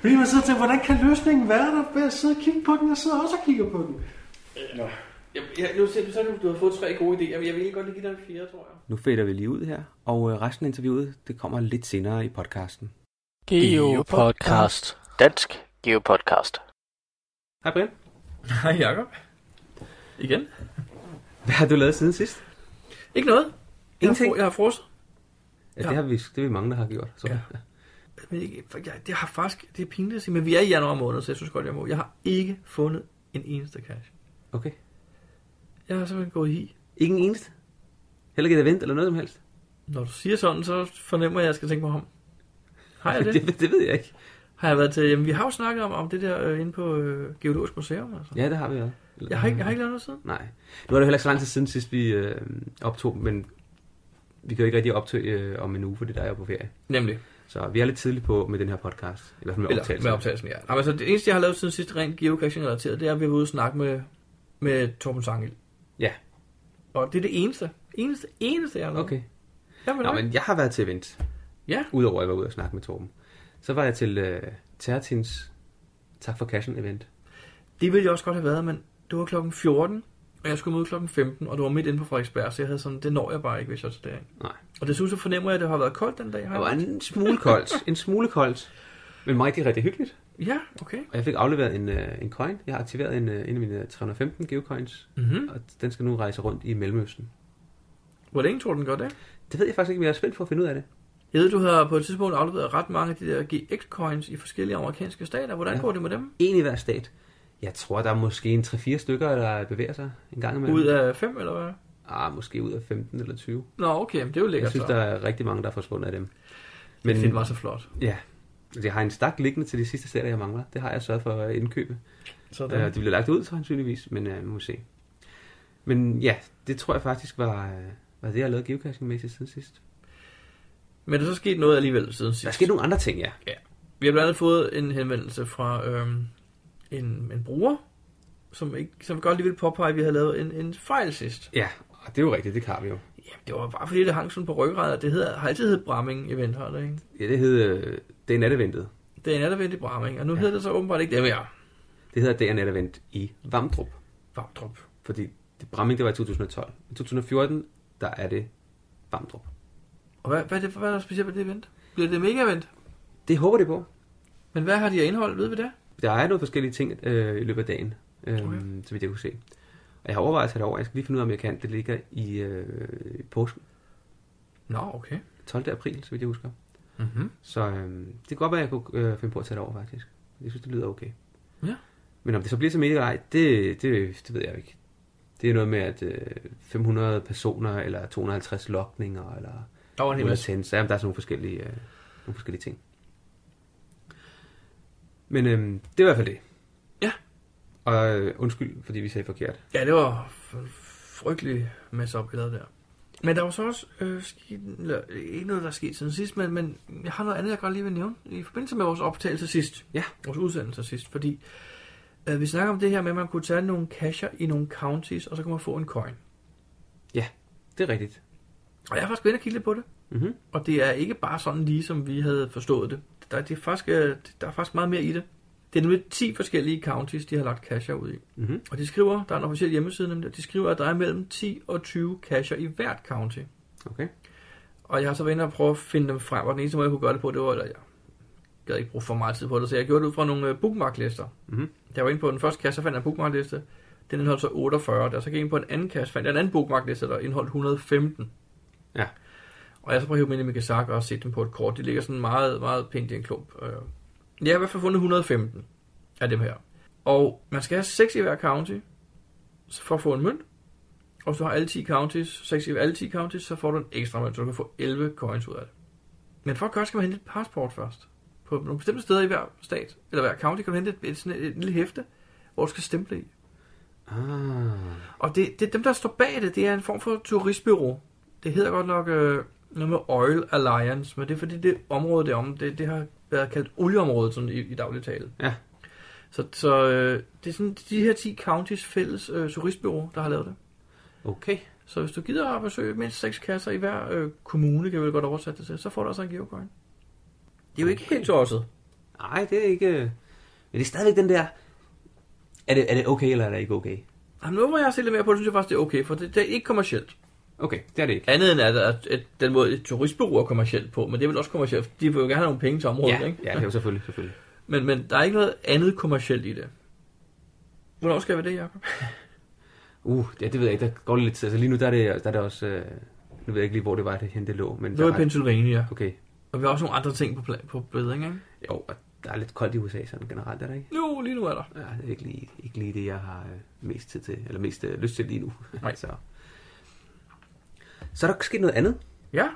S4: Fordi man sidder og tænker, hvordan kan løsningen være der? Ved at sidde og kigge på den, jeg sidder også og kigger på den. Nå.
S6: Jeg, jeg, nu ser du, så du, du har fået tre gode idéer, men jeg vil egentlig godt lige give dig en fjerde, tror jeg.
S2: Nu fader vi lige ud her, og øh, resten af interviewet, det kommer lidt senere i podcasten.
S3: Geo Podcast. Dansk Geo Podcast.
S2: Hej Brian,
S1: Hej Jacob. Igen.
S2: hvad har du lavet siden sidst?
S1: Ikke noget. Jeg har,
S2: Ingenting?
S1: fro- jeg har frosset.
S2: Ja, det har vi, det er vi mange, der har gjort. Så. Ja.
S1: Men ikke, for jeg, det har faktisk, det er pinligt at sige, men vi er i januar måned, så jeg synes godt, jeg må. Jeg har ikke fundet en eneste cash.
S2: Okay.
S1: Jeg har simpelthen gået i.
S2: Ikke en eneste? Heller ikke et event eller noget som helst?
S1: Når du siger sådan, så fornemmer jeg, at jeg skal tænke mig om. Har jeg det?
S2: det, det ved jeg ikke.
S1: Har jeg været til, jamen, vi har jo snakket om, om det der øh, inde på øh, Geologisk Museum. Altså.
S2: Ja, det har vi også.
S1: Jeg, har ikke, jeg har ikke lavet noget siden.
S2: Nej. Nu er det jo heller ikke så lang tid siden sidst, vi øh, optog, men vi kan jo ikke rigtig optage øh, om en uge, fordi der er jeg på ferie.
S1: Nemlig.
S2: Så vi er lidt tidligt på med den her podcast. I hvert fald med
S1: Eller
S2: optagelsen.
S1: med optagelsen, ja. Jamen, altså, det eneste, jeg har lavet siden sidst rent geocaching-relateret, det er, at vi har været ude og snakke med, med Torben Sangel.
S2: Ja.
S1: Og det er det eneste. Eneste, eneste, jeg har lavet.
S2: Okay.
S1: Jamen,
S2: Nå, men jeg har været til event.
S1: Ja.
S2: Udover at jeg var ude og snakke med Torben. Så var jeg til øh, Tertins Tak for Cashen event.
S1: Det ville jeg også godt have været, men det var klokken 14, og jeg skulle møde klokken 15, og det var midt inde på Frederiksberg, så jeg havde sådan, det når jeg bare ikke, hvis jeg tager derind.
S2: Nej.
S1: Og desuden så fornemmer jeg, at det har været koldt den dag. Har
S2: Det
S1: jeg
S2: var
S1: ret?
S2: en smule koldt. En smule koldt. Men rigtig, rigtig hyggeligt.
S1: Ja, okay.
S2: Og jeg fik afleveret en, øh, en coin. Jeg har aktiveret en, øh, en af mine 315 geocoins.
S1: Mm-hmm.
S2: Og den skal nu rejse rundt i Mellemøsten.
S1: Hvor længe tror du, den gør det?
S2: Det ved jeg faktisk ikke, men jeg er spændt på at finde ud af det.
S1: Jeg ved, du har på et tidspunkt afleveret ret mange af de der GX-coins i forskellige amerikanske stater. Hvordan
S2: Ja.
S1: ja. går det med dem?
S2: En i hver stat. Jeg tror, der er måske en 3-4 stykker, der bevæger sig en gang imellem.
S1: Ud af fem, eller hvad?
S2: Ah, måske ud af 15 eller 20.
S1: Nå, okay, men det er jo
S2: Jeg
S1: lækkert
S2: synes,
S1: så.
S2: der er rigtig mange, der er forsvundet af dem.
S1: Men... Det var så flot.
S2: ja, Altså, jeg har en stak liggende til de sidste stater, jeg mangler. Det har jeg sørget for at indkøbe.
S1: Sådan.
S2: Øh, de bliver lagt ud, sandsynligvis, men øh, vi må se. Men ja, det tror jeg faktisk var, øh, var det, jeg lavede geocaching-mæssigt siden sidst.
S1: Men der er så sket noget alligevel siden sidst.
S2: Der skete nogle andre ting, ja.
S1: Vi har blandt andet fået en henvendelse fra øhm, en, en bruger, som, ikke, som godt lige ville påpege, at vi havde lavet en, en fejl sidst.
S2: Ja, og det er jo rigtigt, det kan vi jo.
S1: Jamen, det var bare fordi, det hang sådan på ryggraden, og det hedder, har altid heddet Bramming Event, har det ikke?
S2: Ja, det hed øh, Det er natteventet.
S1: Det er en advent i Bramming, og nu ja. hedder det så åbenbart ikke det mere.
S2: Det hedder Det er nattevent i Vamdrup.
S1: Vamdrup.
S2: Fordi det, Bramming, det var i 2012. I 2014, der er det Vamdrup.
S1: Og hvad, hvad, er det, hvad er der specielt ved det event? Bliver det mega event?
S2: Det håber det på.
S1: Men hvad har de af indhold, ved vi det?
S2: Der er nogle forskellige ting øh, i løbet af dagen, øh, okay. så vidt jeg kunne se. Og jeg har overvejet at tage det over. Jeg skal lige finde ud af, om jeg kan. Det ligger i øh, i påsken.
S1: Nå, okay.
S2: 12. april, så vidt jeg husker.
S1: Mm-hmm.
S2: Så øh, det kan godt være, at jeg kunne øh, finde på at tage det over, faktisk. Jeg synes, det lyder okay.
S1: Ja.
S2: Men om det så bliver så mega eller ej, det, det, det ved jeg jo ikke. Det er noget med, at øh, 500 personer, eller 250 lokninger, eller
S1: Der var en hel
S2: Ude af
S1: masse.
S2: tændes. Ja, men der er sådan nogle forskellige, øh, nogle forskellige ting. Men øhm, det er i hvert fald det.
S1: Ja.
S2: Og øh, undskyld, fordi vi sagde forkert.
S1: Ja, det var f- frygtelig masse op, vi lavede der. Men der var så også øh, sket, eller, øh, ikke noget, der er sket siden sidst, men, men jeg har noget andet, jeg godt lige vil nævne i forbindelse med vores optagelse sidst.
S2: Ja.
S1: Vores udsendelse sidst, fordi øh, vi snakker om det her med, at man kunne tage nogle casher i nogle counties, og så kunne man få en coin.
S2: Det er rigtigt.
S1: Og jeg har faktisk været inde og kigge lidt på det.
S2: Mhm.
S1: Og det er ikke bare sådan lige, som vi havde forstået det. Der, det er faktisk, øh, der er faktisk meget mere i det. Det er nemlig 10 forskellige counties, de har lagt casher ud i.
S2: Mhm.
S1: Og de skriver, der er en officiel hjemmeside nemlig, og de skriver, at der er mellem 10 og 20 casher i hvert county.
S2: Okay.
S1: Og jeg har så været inde og prøve at finde dem frem, og den eneste måde, jeg kunne gøre det på, det var, eller jeg gad ikke bruge for meget tid på det, så jeg gjorde det ud fra nogle øh, bookmarklister.
S2: Mhm.
S1: Jeg var inde på den første kasse, så fandt jeg en bookmarkliste. Den indeholdt så 48, der så gik jeg ind på en anden kasse, fandt jeg en anden bookmarkliste, der indeholdt 115.
S2: Ja.
S1: Og jeg så prøvede at hive dem ind i min kasak og set dem på et kort. De ligger sådan meget, meget pænt i en klump. Øh, Jeg har i hvert fald fundet 115 af dem her. Og man skal have 6 i hver county for at få en mønt. Og hvis du har alle 10 counties, 6 i alle 10 counties, så får du en ekstra mønt, så du kan få 11 coins ud af det. Men for at gøre det, skal man hente et passport først. På nogle bestemte steder i hver stat, eller hver county, kan du hente et, et, sådan et, et lille hæfte, hvor du skal stemple i.
S2: Ah.
S1: Og det, det, dem, der står bag det, det er en form for turistbyrå. Det hedder godt nok øh, noget med Oil Alliance, men det er fordi det område derom, det, det har været kaldt olieområdet sådan i, i daglig tale.
S2: Ja.
S1: Så, så øh, det er sådan de her 10 counties fælles øh, turistbyrå, der har lavet det.
S2: Okay.
S1: Så hvis du gider at besøge mindst seks kasser i hver øh, kommune, kan vi vel godt oversætte det til, så får du altså en geocoin. Det er jo ikke helt tosset.
S2: Nej, det er ikke... Men det er stadigvæk den der... Er det, er det okay, eller er det ikke okay?
S1: Jamen, nu hvor jeg har set lidt mere på det, synes jeg faktisk, det er okay, for det, det er ikke kommercielt.
S2: Okay, det er det ikke.
S1: Andet end at, at, at den måde, et turistbureau er kommercielt på, men det er vel også kommercielt. De vil jo gerne have nogle penge til området,
S2: Ja,
S1: ikke?
S2: ja det er jo selvfølgelig, selvfølgelig.
S1: Men, men der er ikke noget andet kommercielt i det. Hvornår skal jeg være det, Jacob?
S2: Uh, ja, det ved jeg ikke. Der går lidt tid. Altså lige nu, der er det, der er det også... Øh, nu ved jeg ikke lige, hvor det var, det henne det lå. Men
S1: Det
S2: der
S1: var i
S2: er-
S1: Pennsylvania.
S2: Okay.
S1: Og vi har også nogle andre ting på, pla- på bedring, ikke?
S2: Jo, og der er lidt koldt i USA sådan generelt, er der ikke?
S1: Jo, lige nu er der.
S2: Ja, det er ikke lige, ikke lige det, jeg har øh, mest tid til, eller mest øh, lyst til lige nu.
S1: Nej.
S2: så. så er der sket noget andet.
S1: Ja.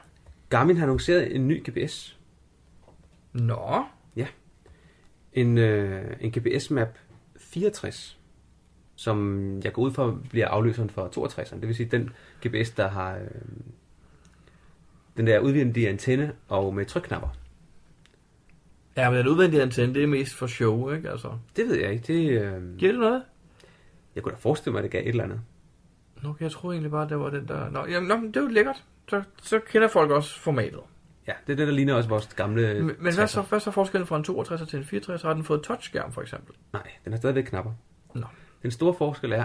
S2: Garmin har annonceret en ny GPS.
S1: Nå.
S2: En, øh, en GPS Map 64, som jeg går ud fra bliver afløseren for 62'eren. Det vil sige, den GPS, der har øh, den der udvendige antenne og med trykknapper.
S1: Ja, men den udvendige antenne, det er mest for show, ikke? Altså,
S2: Det ved jeg ikke. Det, øh,
S1: giver det noget?
S2: jeg kunne da forestille mig, at det gav et eller andet.
S1: Nå, jeg troede egentlig bare, det var den der... Nå, jamen, nå men det er jo lækkert. Så, så kender folk også formatet.
S2: Ja, det er det, der ligner også vores gamle...
S1: Men, men hvad,
S2: 60'er.
S1: så, hvad så forskellen fra en 62 til en 64? Har den fået touchskærm, for eksempel?
S2: Nej, den har stadigvæk knapper.
S1: Nå.
S2: Den store forskel er,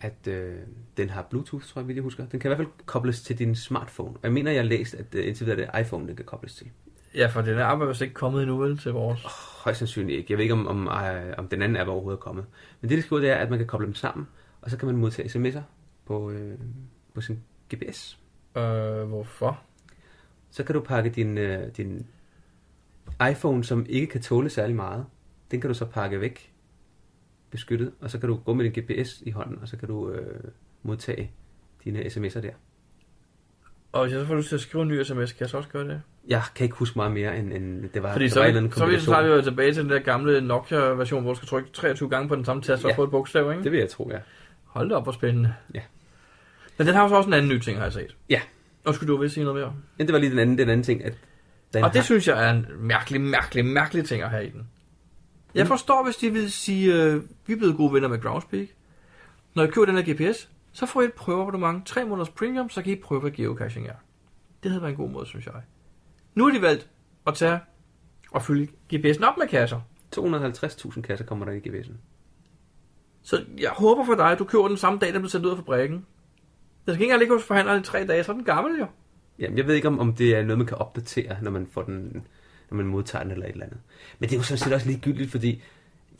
S2: at øh, den har Bluetooth, tror jeg, vidt jeg husker. Den kan i hvert fald kobles til din smartphone. Og jeg mener, jeg har læst, at øh, indtil videre er det iPhone, den kan kobles til.
S1: Ja, for den er app er vist ikke kommet endnu, vel, til vores...
S2: Højst sandsynligt ikke. Jeg ved ikke, om, om, øh, om den anden app overhovedet er kommet. Men det, de skriver, det er, at man kan koble dem sammen, og så kan man modtage sms'er på, øh, på sin GPS.
S1: Øh, hvorfor?
S2: Så kan du pakke din, øh, din iPhone, som ikke kan tåle særlig meget, den kan du så pakke væk beskyttet, og så kan du gå med din GPS i hånden, og så kan du øh, modtage dine sms'er der.
S1: Og hvis jeg så får lyst til at skrive en ny sms, kan jeg så også gøre det?
S2: Jeg kan ikke huske meget mere, end, end det var,
S1: Fordi
S2: det
S1: så,
S2: var en
S1: er
S2: eller
S1: vi-
S2: anden
S1: så, er vi,
S2: kombination.
S1: så har vi jo tilbage til den der gamle Nokia-version, hvor du skal trykke 23 gange på den samme tast for
S2: Ja.
S1: at få et bogstav, ikke?
S2: Det vil jeg tro, ja.
S1: Hold da op, hvor spændende.
S2: Ja.
S1: Men den har jo så også en anden ny ting, har jeg set.
S2: Ja.
S1: Og skulle du vil sige noget mere?
S2: Men det var lige den anden, den anden ting, at den
S1: og det
S2: har,
S1: synes jeg er en mærkelig, mærkelig, mærkelig ting at have i den. Jeg forstår, hvis de vil sige, øh, vi er blevet gode venner med Groundspeak. Når jeg køber den her GPS, så får I et prøveabonnement, 3 måneders premium, så kan I prøve, hvad geocaching er. Det havde været en god måde, synes jeg. Nu har de valgt at tage og fylde GPS'en op med kasser.
S2: 250.000 kasser kommer der i GPS'en.
S1: Så jeg håber for dig, at du køber den samme dag, den blev sendt ud af fabrikken. Den skal ikke engang ligge hos forhandleren i tre dage, så er den gammel jo.
S2: Jamen, jeg ved ikke, om, om det er noget, man kan opdatere, når man, får den, når man modtager den eller et eller andet. Men det er jo sådan set også ligegyldigt, fordi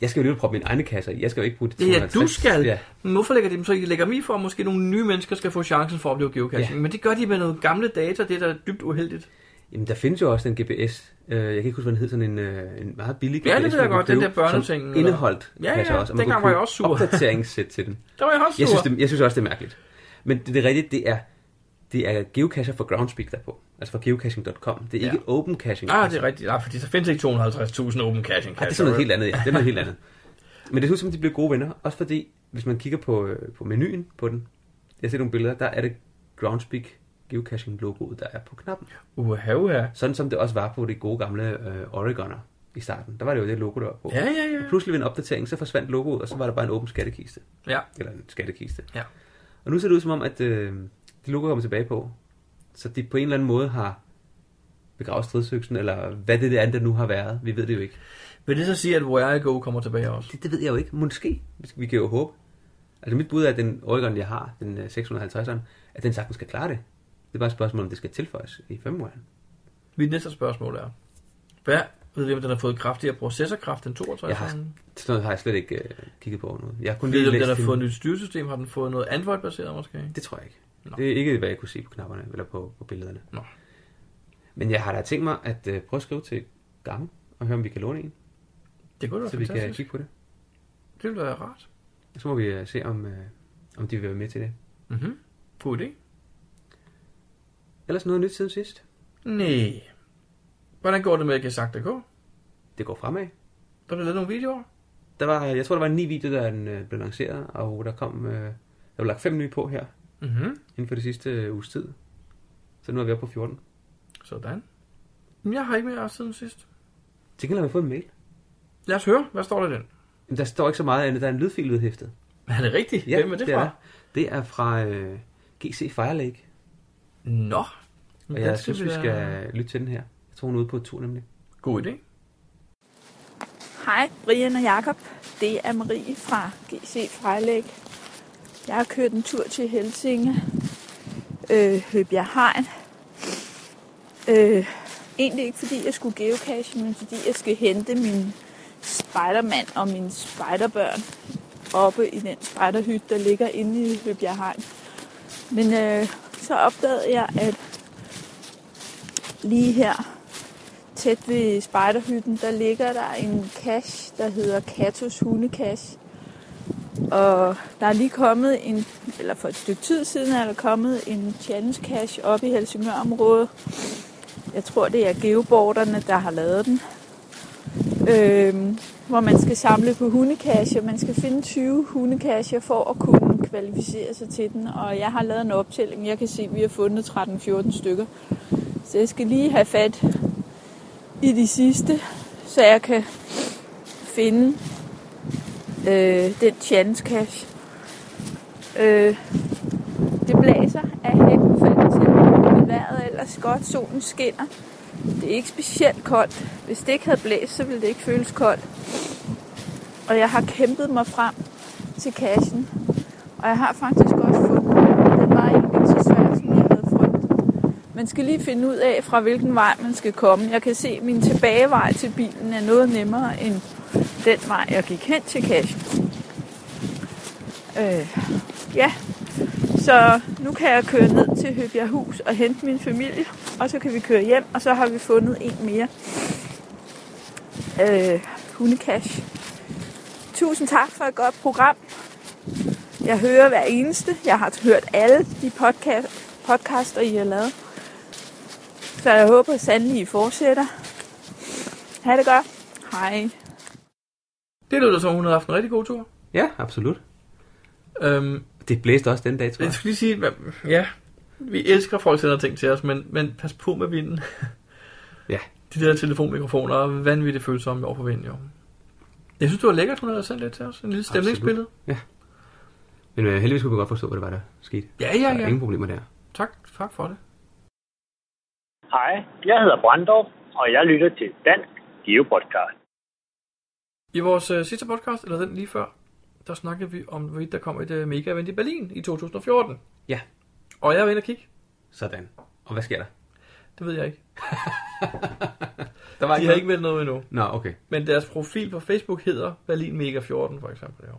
S2: jeg skal jo lige proppe mine egne kasser i. Jeg skal jo ikke bruge de
S1: Det er,
S2: 250.
S1: du skal.
S2: Ja.
S1: Ja. Men hvorfor lægger de dem så ikke? De lægger dem i for, at måske nogle nye mennesker skal få chancen for at opleve geocaching.
S2: Ja.
S1: Ja. Men det gør de med noget gamle data, det er da dybt uheldigt.
S2: Jamen, der findes jo også den GPS. Øh, Jeg kan ikke huske, hvad den hed, sådan en, øh, en meget billig GPS.
S1: Ja, det ved jeg
S2: man kunne
S1: godt, den
S2: købe,
S1: der børneting,
S2: Som
S1: eller-
S2: indeholdt
S1: Ja, ja,
S2: kasser også. og man
S1: dengang
S2: kunne
S1: var jeg
S2: købe
S1: også sur.
S2: Opdateringssæt til den.
S1: Der var jeg også
S2: Jeg synes,
S1: sur.
S2: det, jeg synes også, det er mærkeligt. Men det, det er rigtigt, det er, det er geocacher for Groundspeak der er på. Altså fra geocaching.com. Det er
S1: Ja.
S2: ikke open caching.
S1: Nej, ah, det
S2: altså.
S1: er rigtigt. Nej, fordi så findes ikke 250.000 open caching
S2: Ej, det er sådan noget helt andet, ja. Det er noget helt andet. Men det ser ud som, de bliver gode venner. Også fordi, hvis man kigger på, øh, på menuen på den, jeg ser nogle billeder, der er det Groundspeak geocaching-logoet, der er på knappen.
S1: Uha, uha.
S2: Sådan som det også var på det gode gamle øh, Oregoner i starten. Der var det jo det logo, der var på.
S1: Ja, ja, ja.
S2: Og pludselig ved en opdatering, så forsvandt logoet, og så var der bare en åben skattekiste.
S1: Ja,
S2: Eller en skattekiste.
S1: Ja.
S2: Og nu ser det ud som om, at øh, det logo kommer tilbage på. Så de på en eller anden måde har begravet stridsøksen, eller hvad det er, der nu har været. Vi ved det jo ikke.
S1: vil det så sige, at Where I Go kommer tilbage også?
S2: Det, det ved jeg jo ikke. Måske. Vi- Vi kan jo håbe. Altså mit bud er, at den Oregon, jeg har, den øh, 650'eren, at den sagtens skal klare det. Det er bare et spørgsmål, om det skal tilføjes i firmwaren.
S1: Mit næste spørgsmål er, hvad ved vi, om den har fået kraftigere processorkraft end 62?
S2: Jeg har- Sådan noget har jeg slet ikke øh, kigget på nu. Jeg har kun
S1: Ved
S2: lige
S1: du, om den
S2: læst
S1: har
S2: den.
S1: fået et nyt styresystem? Har den fået noget Android-baseret måske?
S2: Det tror jeg ikke.
S1: Nå.
S2: Det er ikke, hvad jeg kunne se på knapperne, eller på, på billederne.
S1: Nå.
S2: Men jeg har da tænkt mig at øh, prøve at skrive til Garmin, og høre, om vi kan låne en,
S1: Det kunne da
S2: så
S1: være
S2: vi kan
S1: fantastisk.
S2: kigge på det.
S1: Det ville være rart.
S2: Så må vi øh, se, om, øh, om de vil være med til det.
S1: Mhm. God idé.
S2: Ellers noget nyt siden sidst.
S1: Nej. Hvordan går det med Gesak.dk?
S2: Det går fremad.
S1: Der blev lavet nogle videoer.
S2: Der var, jeg tror, der var ni videoer, der den, øh, blev lanceret, og der kom, øh, der blev lagt fem nye på her
S1: Mhm.
S2: inden for det sidste øh, uges tid. Så nu er vi oppe på 14.
S1: Sådan. Jamen, Jeg har ikke mere siden sidst.
S2: Til gengæld har vi fået en mail.
S1: Lad os høre, hvad står der i den?
S2: Men der står ikke så meget andet, der er en lydfil vedhæftet.
S1: Er det rigtigt? Hvem er det, fra?
S2: Er. Det er fra øh, GC Firelake,
S1: Nå.
S2: og
S1: Den
S2: jeg synes, vi
S1: da-
S2: skal lytte til den her. Jeg tror, hun er ude på tur nemlig.
S1: God idé.
S7: Hej, Brian og Jakob. Det er Marie fra GC Frejlæg. Jeg har kørt en tur til Helsinge, øh, Høbjerg Hegn. Øh, egentlig ikke fordi jeg skulle geocache, men fordi jeg skal hente min spejdermand og mine spejderbørn oppe i den spejderhytte, der ligger inde i Høbjerg Hegn. Men øh, så opdagede jeg, at lige her tæt ved spejderhytten, der ligger der en cache, der hedder Katos hundekache. Og der er lige kommet en, eller for et stykke tid siden er der kommet en challenge cache op i Helsingør-området. Jeg tror, det er geoborderne, der har lavet den. Øhm, hvor man skal samle på hundekasser. Man skal finde 20 hundekasser for at kunne kvalificere sig til den. Og jeg har lavet en optælling. Jeg kan se, at vi har fundet 13-14 stykker. Så jeg skal lige have fat i de sidste, så jeg kan finde øh, den chance cash. Øh, det blæser af hækken faldt til, men vejret er ellers godt, solen skinner. Det er ikke specielt koldt. Hvis det ikke havde blæst, så ville det ikke føles koldt. Og jeg har kæmpet mig frem til kassen. Og jeg har faktisk også fundet den. Den var egentlig ikke så svær, som jeg havde frygtet. Man skal lige finde ud af, fra hvilken vej man skal komme. Jeg kan se, at min tilbagevej til bilen er noget nemmere end den vej, jeg gik hen til kassen. Øh, ja, så nu kan jeg køre ned til Høbjerghus og hente min familie, og så kan vi køre hjem, og så har vi fundet en mere øh, hundekash. Tusind tak for et godt program. Jeg hører hver eneste. Jeg har hørt alle de podcast, podcaster, I har lavet. Så jeg håber sandelig, I fortsætter. Ha' det godt. Hej.
S1: Det lyder som, hun havde haft en rigtig god tur.
S2: Ja, absolut.
S1: Øhm,
S2: Det blæste også den dag, tror
S1: jeg
S2: jeg.
S1: skal lige sige, hvad- ja, vi elsker, at folk sender ting til os, men, men pas på med vinden.
S2: Ja.
S1: De der telefonmikrofoner er vanvittigt følsomme over for vinden, jo. Jeg synes, det var lækkert, hun havde sendt lidt til os. En lille stemningsbillede.
S2: Men øh, heldigvis kunne vi godt forstå, hvad det var, der skete.
S1: Ja,
S2: Der
S1: ja,
S2: er
S1: ja.
S2: ingen problemer der.
S1: Tak, tak for det.
S3: Hej, jeg hedder Brandorf, og jeg lytter til Dansk Geo Podcast.
S1: I vores øh, sidste podcast, eller den lige før, der snakkede vi om, hvorvidt der kom et øh, mega-event i Berlin i 2014.
S2: Ja.
S1: Og jeg var inde og kigge.
S2: Sådan. Og hvad sker der?
S1: Det ved jeg ikke.
S2: Der var
S1: De har ikke meldt noget endnu.
S2: Nå, okay.
S1: Men deres profil på Facebook hedder Berlin Mega 14, for eksempel. Jo.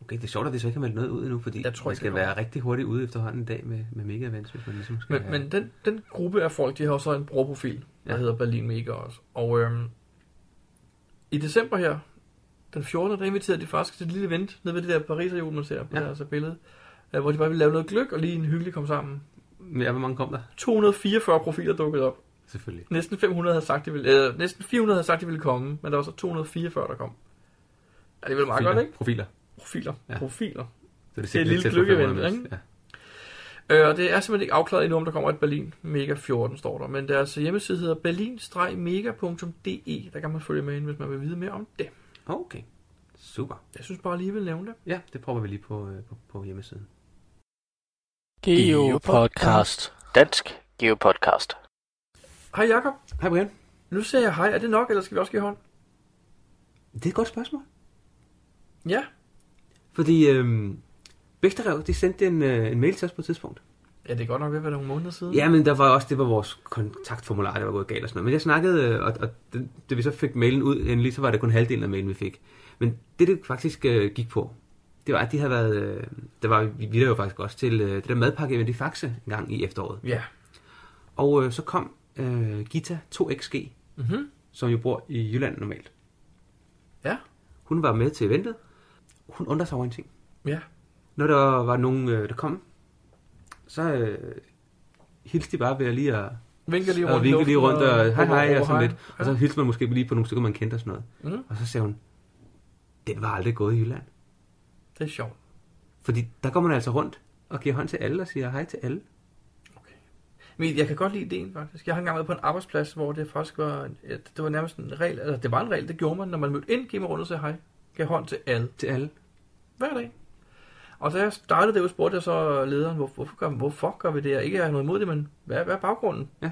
S2: Okay, det er sjovt, at det så ikke har meldt noget ud endnu, fordi
S1: Jeg tror
S2: man
S1: ikke,
S2: skal
S1: det kommer.
S2: være rigtig hurtigt ude efterhånden i dag med, med mega events, hvis man ligesom skal
S1: Men,
S2: have...
S1: men den, den gruppe af folk, de har jo så en brugerprofil, der
S2: Ja.
S1: hedder Berlin Mega også. Og øhm, i december her, den 14. der inviterede de faktisk til et lille event nede ved det der Pariserhjul, man ser på ja.
S2: Ja.
S1: deres billede, øh, hvor de bare ville lave noget gløk og lige en hyggelig kom sammen.
S2: Men ja, hvor mange kom der?
S1: 244 profiler dukkede op.
S2: Selvfølgelig.
S1: Næsten 500 havde sagt, de ville, øh, næsten 400 havde sagt, de ville komme, men der var så 244, der kom. Ja, det er vel meget godt, ikke?
S2: Profiler.
S1: Profiler. Ja.
S2: Ja.
S1: Profiler.
S2: Så det,
S1: er et lille
S2: lidt tæt på
S1: gløgg-event,
S2: 500
S1: ikke?
S2: mennesker. Ja.
S1: Øh, og det er simpelthen ikke afklaret endnu, om der kommer et Berlin Mega 14, står der. Men deres hjemmeside hedder berlin-mega.de. e. Der kan man følge med ind, hvis man vil vide mere om det.
S2: Okay. Super.
S1: Jeg synes bare lige, vil nævne det.
S2: Ja, det prøver vi lige på, øh, på, på hjemmesiden.
S3: Geo Podcast. Dansk Geo Podcast.
S1: Hej Jakob.
S2: Hej Brian.
S1: Nu siger jeg hej. Er det nok, eller skal vi også give hånd?
S2: Det er et godt spørgsmål.
S1: Ja.
S2: Fordi øhm, Vægterev, de sendte en, øh, en mail til os på et tidspunkt.
S1: Ja, det er godt nok ved at være nogle måneder siden.
S2: Ja, men der var også, det var vores kontaktformular, der var gået galt og sådan noget. Men jeg snakkede, øh, og, og det, da vi så fik mailen ud endelig, så var det kun halvdelen af mailen, vi fik. Men det, det faktisk øh, gik på, det var, at de havde været, øh, der var vi, vi der jo faktisk også til øh, det der madpakke event i Faxe en gang i efteråret.
S1: Ja.
S2: Og øh, så kom øh, Gita 2XG,
S1: Mhm.
S2: som jo bor i Jylland normalt.
S1: Ja.
S2: Hun var med til eventet. Hun undrede sig over en ting.
S1: Ja.
S2: Når der var nogen, øh, der kom, så øh, hilste de bare ved at lige at
S1: Vinker lige rundt.
S2: og vinke lige
S1: i
S2: rundt
S1: luften,
S2: og hej hej og sådan lidt.
S1: Ja.
S2: Og så hilste man måske lige på nogle stykker, man kendte og sådan noget.
S1: Mhm.
S2: Og så sagde hun, den var aldrig gået i Jylland.
S1: Det er sjovt.
S2: Fordi der går man altså rundt og giver hånd til alle og siger hej til alle.
S1: Men jeg kan godt lide ideen, faktisk. Jeg har engang været på en arbejdsplads, hvor det faktisk var, en- ja, det var nærmest en regel, altså det var en regel, det gjorde man, når man mødte ind, gik man rundt og sagde hej, gav hånd til alle,
S2: Til alle.
S1: hver dag. Og da jeg startede det, spurgte jeg så lederen, hvor, hvorfor, gør, hvorfor gør vi det her? Ikke at jeg har noget imod det, men hvad, hvad er baggrunden?
S2: Ja.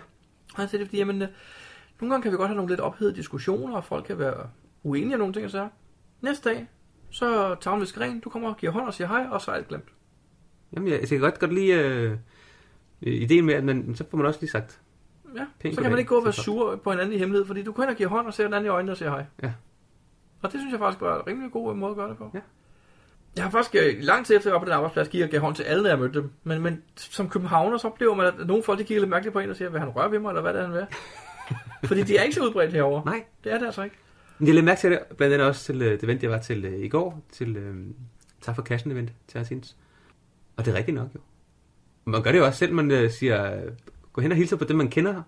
S1: Og han sagde, det er fordi, jamen, øh, nogle gange kan vi godt have nogle lidt ophedede diskussioner, og folk kan være uenige om nogle ting, og så næste dag, så tager vi skren, du kommer og giver hånd og siger hej, og så er alt glemt.
S2: Jamen, jeg, jeg kan godt, godt lide øh, ideen med, at man, så får man også lige sagt.
S1: Ja,
S2: Pænt
S1: så kan man
S2: goddag.
S1: ikke gå og være
S2: Så-
S1: sur på hinanden i hemmelighed, fordi du kan og giver hånd og ser hinanden i øjnene og siger hej.
S2: Ja.
S1: Og det synes jeg faktisk var en rimelig god øh, måde at gøre det på.
S2: Ja.
S1: Jeg har faktisk øh, lang tid efter, jeg var på den arbejdsplads, gik og gav hånd til alle, da jeg mødte dem. Men, men som københavner, så oplever man, at nogle folk de kigger lidt mærkeligt på en og siger, vil han røre ved mig, eller hvad det er, han vil. fordi de er ikke så udbredt herovre.
S2: Nej.
S1: Det er det altså ikke.
S2: Men jeg lagde mærke til det, blandt andet også til øh, det event, jeg var til øh, i går, til øh, Tak for Kassen event, Tarantins. Og det er rigtigt nok jo. Man gør det jo også selv, man øh, siger, øh, gå hen og hilser på dem, man kender,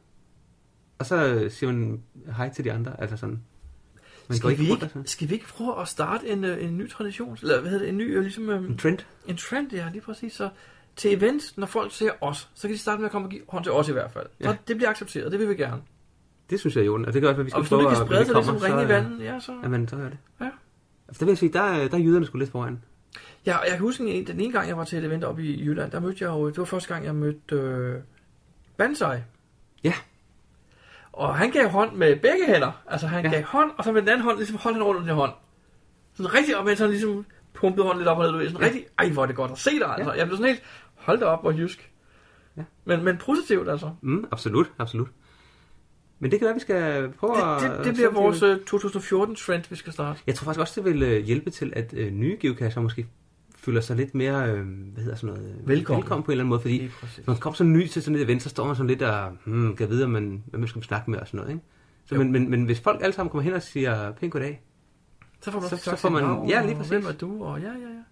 S2: og så øh, siger man hej til de andre, altså sådan. Man går
S1: Skal vi,
S2: rundt
S1: ikke,
S2: altså. og sådan.
S1: skal vi ikke prøve at starte en, øh, en ny tradition? Eller hvad hedder det? En ny, øh, ligesom, øh,
S2: En trend.
S1: en trend, det er lige præcis. Så til events, når folk ser os, så kan de starte med at komme og give hånd til os i hvert fald. Ja.
S2: Ja.
S1: Så det bliver accepteret, det vil vi gerne.
S2: Det synes jeg er i orden, og det gør også, at vi skal
S1: Og hvis nu det
S2: prøve
S1: kan
S2: at-
S1: sprede sig
S2: når vi
S1: lidt som
S2: kommer,
S1: ringe i
S2: så, øh,
S1: vandet, ja, så...
S2: Jamen, så gør det.
S1: Ja.
S2: Altså, der vil jeg sige, der, er- der er jyderne skulle lidt foran.
S1: Ja, og jeg kan huske, en, den ene gang, jeg var til et event oppe i Jylland, der mødte jeg jo, det var første gang, jeg mødte øh, Banzai.
S2: Ja.
S1: Og han gav hånd med begge hænder. Altså han ja.
S2: Ja.
S1: gav hånd, og så med den anden hånd, ligesom holdt han rundt om den hånd. Sådan rigtig op, mens han ligesom pumpede hånden lidt op og ned, du ved, sådan ja. rigtig, ej hvor er det godt at se dig, altså. Jeg blev sådan helt, hold da op, hvor jysk.
S2: Ja.
S1: Men, men positivt altså.
S2: Mm, absolut, absolut. Men det kan være, vi skal prøve
S1: Det,
S2: at...
S1: det, det bliver vores øh, 2014-trend, vi skal starte.
S2: Jeg tror faktisk også, det vil øh, hjælpe til, at øh, nye geocacher måske føler sig lidt mere, øh, hvad hedder sådan noget, øh,
S1: Velkommen.
S2: velkommen på en eller anden måde, fordi
S1: Lige præcis.
S2: når man kommer så ny til sådan et event, så står man sådan lidt og, hmm, kan vide, om man, hvem man skal snakke med og sådan noget, ikke? Så,
S1: Jo.
S2: men, men, men, hvis folk alle sammen kommer hen og siger pænt goddag,
S1: Så får man,
S2: Så-
S1: også
S2: så
S1: sagt
S2: får
S1: sit
S2: man-
S1: navn,
S2: ja, lige
S1: og
S2: præcis.
S1: Hvem er du? Og ja, ja, ja.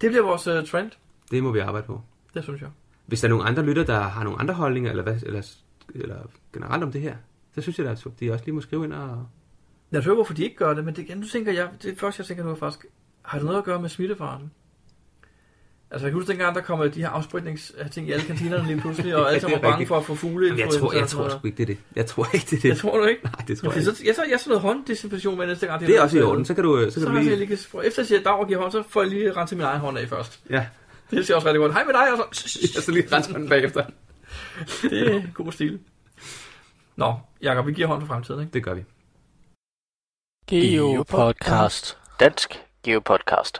S1: Det bliver vores uh, trend,
S2: det må vi arbejde på.
S1: det synes jeg.
S2: Hvis der er nogle andre lytter, der har nogle andre holdninger, eller, hvad, eller, eller generelt om det her, så synes jeg da, at de også lige må skrive ind og...
S1: Jeg tror, hvorfor de ikke gør det, men det, ja, nu tænker jeg, det første, jeg tænker nu er faktisk, har det noget at gøre med smittefaren? Altså, jeg kan huske dengang, der kom øh, de her afspritningsting i alle kantinerne lige pludselig, og alle
S2: Ja,
S1: sammen
S2: det
S1: var
S2: er
S1: bange
S2: rigtigt.
S1: for at få fugle
S2: Jamen, jeg tror, jeg tror sgu ikke, det er det. Jeg tror ikke, det er det.
S1: Jeg tror du ikke?
S2: Nej, det tror
S1: Jeg,
S2: jeg ikke.
S1: så, jeg tager, jeg tager noget hånddesinfektion med næste gang.
S2: Det er også i orden, så kan du, øh,
S1: Så,
S2: så
S1: så
S2: kan
S1: har
S2: du
S1: jeg
S2: lige...
S1: lige... lige efter jeg siger dag og giver hånd, så får jeg lige renset min egen hånd af først.
S2: Ja,
S1: Det ser også rigtig godt. Hej med dig, og så...
S2: jeg så lige rense hånden bagefter.
S1: Det er god stil. Nå, Jakob, vi giver hånd for fremtiden, ikke?
S2: Det gør vi.
S3: Geopodcast. Dansk Geopodcast.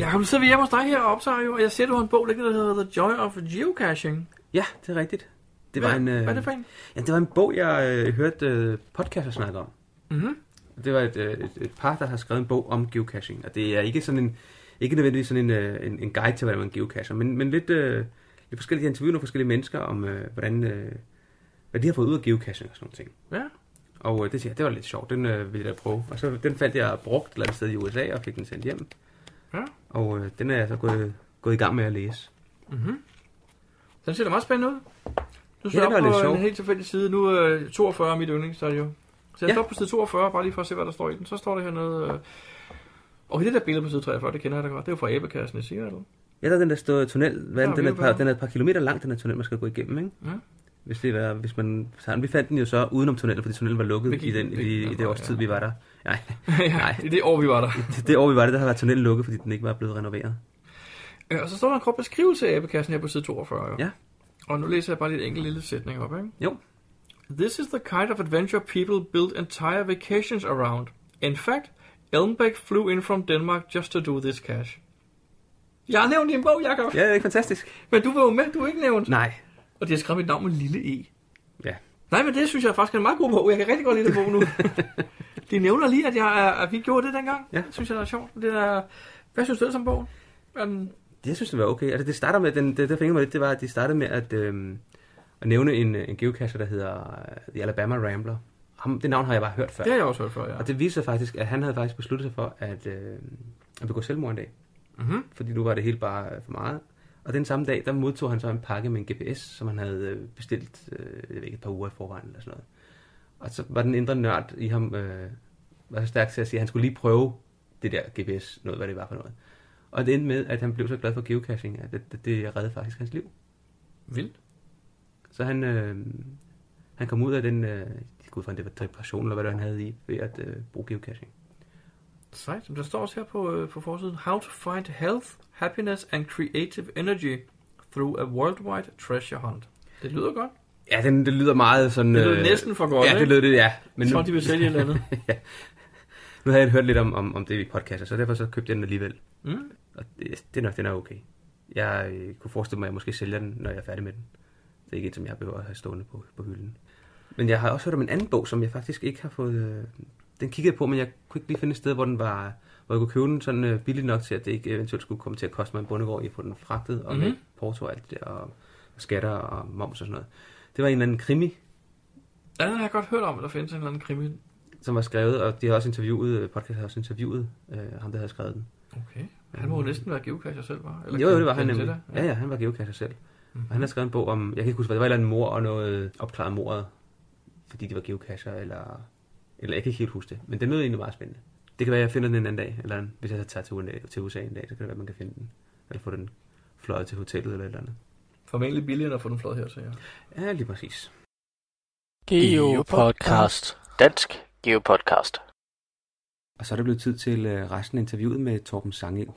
S1: Jakob, nu sidder vi hjemme hos dig her og optager jo, og jeg ser, du har en bog liggende, der hedder The Joy of Geocaching.
S2: Ja, det er rigtigt. Det var
S1: hvad,
S2: en, øh,
S1: hvad er det for en?
S2: Ja, det var en bog, jeg øh, hørte øh, podcaster snakke om.
S1: Mm-hmm.
S2: Det var et, øh, et, et par, der har skrevet en bog om geocaching, og det er ikke sådan en ikke nødvendigvis sådan en, øh, en, en guide til, hvordan man geocacher, men, men lidt, øh, lidt forskellige interviewer nogle forskellige mennesker om, øh, hvordan, øh, hvad de har fået ud af geocaching og sådan nogle ting.
S1: Ja.
S2: Og øh, det, ja, det var lidt sjovt, den øh, ville jeg da prøve. Og så den fandt jeg brugt et eller andet sted i USA og fik den sendt hjem.
S1: Ja.
S2: Og øh, den er jeg så gået, gået i gang med at læse.
S1: Den ser da meget spændende ud. Du
S2: den
S1: slår
S2: er
S1: op
S2: lidt
S1: på
S2: sjov.
S1: en helt tilfældig side. Nu er øh, 42 er mit yndlings, så er det jo. Så jeg
S2: Ja.
S1: slår op på side 42, bare lige for at se, hvad der står i den. Så står der hernede... Øh... Okay, det der billede på side 43, det kender jeg da godt. Det er jo fra æbekassen i Seattle.
S2: Ja, der er den der store tunnel. Hvad,
S1: Ja,
S2: ja, den, er et par,
S1: Vildbakken.
S2: den er et par kilometer lang, den her tunnel, man skal gå igennem, ikke?
S1: Ja.
S2: Hvis, det var, hvis man tager den. Vi fandt den jo så udenom tunnelen, fordi tunnelen var lukket
S1: Vi gik-
S2: i, den,
S1: vi-
S2: i, i det års
S1: ja.
S2: tid, vi var der. Nej,
S1: ja,
S2: Nej.
S1: i det år, vi var der.
S2: det, det år, vi var der, der var tunnelen lukket, fordi den ikke var blevet renoveret.
S1: Ja, Øh, og så står der en kort beskrivelse af æbekassen her på side 42. Jo.
S2: Ja.
S1: Og nu læser jeg bare lige en enkelt lille sætning op, ikke?
S2: Jo.
S1: This is the kind of adventure people build entire vacations around. In fact, Elmbeck flew in from Denmark just to do this cache. Jeg har nævnt din bog, Jacob. Ja.
S2: Ja, det er ikke fantastisk.
S1: Men du var jo med, du er ikke nævnt.
S2: Nej.
S1: Og de har skrevet mit navn med lille e.
S2: Ja.
S1: Nej, men det synes jeg faktisk er en meget god bog. Jeg kan rigtig godt lide den bog nu. de nævner lige, at, jeg, er- at vi gjorde det dengang.
S2: Ja.
S1: Det synes jeg, der er sjovt. Det er... Hvad synes du ellers om bogen? Er den...
S2: Det, jeg synes, det var okay. Altså, det starter med, den, det, der fængede mig lidt, det var, at de startede med at, øhm, at nævne en, en geocacher, der hedder øh, The Alabama Rambler. Ham, det navn har jeg bare hørt før.
S1: Det har jeg også hørt før, ja.
S2: Og det viste sig faktisk, at han havde faktisk besluttet sig for at, øh, at begå selvmord en dag.
S1: Mhm.
S2: Fordi nu var det helt bare øh, for meget. Og den samme dag, der modtog han så en pakke med en GPS, som han havde øh, bestilt øh, jeg ved ikke, et par uger i forvejen eller sådan noget. Og så var den indre nørd i ham øh, var så stærk til at sige, at han skulle lige prøve det der GPS, noget hvad det var for noget. Og det endte med, at han blev så glad for geocaching, at det, det, det reddede faktisk hans liv.
S1: Vildt.
S2: Så han, øh, han kom ud af den, øh, jeg går ud fra, at det var depression eller hvad det var, han havde i, ved at øh, bruge geocaching.
S1: Sejt. Men Der står også her på, øh, på forsiden, How to find health, happiness and creative energy through a worldwide treasure hunt. Det lyder godt.
S2: Ja, den, det lyder meget sådan...
S1: Det lød
S2: øh,
S1: næsten for godt,
S2: Ja,
S1: ikke?
S2: det lød det, ja.
S1: Men
S2: Men
S1: nu...
S2: nu,
S1: Som de vil sælge et eller andet.
S8: Nu havde jeg hørt lidt om, om, om det i podcaster, så derfor så købte jeg den alligevel.
S9: Mm.
S8: Og det, det er nok, den er okay. Jeg øh, kunne forestille mig, at jeg måske sælger den, når jeg er færdig med den. Det er ikke et, som jeg behøver at have stående på, på hylden. Men jeg har også hørt om en anden bog, som jeg faktisk ikke har fået... Øh, den kiggede jeg på, men jeg kunne ikke lige finde et sted, hvor den var hvor jeg kunne købe den sådan øh, billigt nok til, at det ikke eventuelt skulle komme til at koste mig en bondegård i at få den fragtet og
S9: Mhm.
S8: mm-hmm. med porto og alt det der, og skatter og moms og sådan noget. Det var en eller anden krimi,
S9: Ja, den har jeg godt hørt om, at der findes en eller anden krimi.
S8: som var skrevet, og de har også interviewet, øh, podcast har også interviewet øh, ham, der havde skrevet den.
S9: Okay. Han må jo næsten være geocacher selv, var?
S8: Eller jo, jo, det var han
S9: kende til
S8: nemlig.
S9: det.
S8: Ja, ja, han var geocacher selv. Mm-hmm. Og han har skrevet en bog om, jeg kan ikke huske, hvad det var, et eller en mor og noget opklaret mordet, fordi de var geocacher, eller, eller jeg kan ikke helt huske det. Men det lød egentlig meget spændende. Det kan være, at jeg finder den en anden dag, eller hvis jeg så tager til USA, til USA en dag, så kan det være, at man kan finde den. Eller få den fløjet til hotellet eller et eller andet.
S9: Formentlig billigere end at få den flot her, siger jeg.
S8: Ja, lige præcis.
S3: Geopodcast. Dansk Geopodcast.
S8: Og så er det blevet tid til øh, resten af interviewet med Torben Sangild.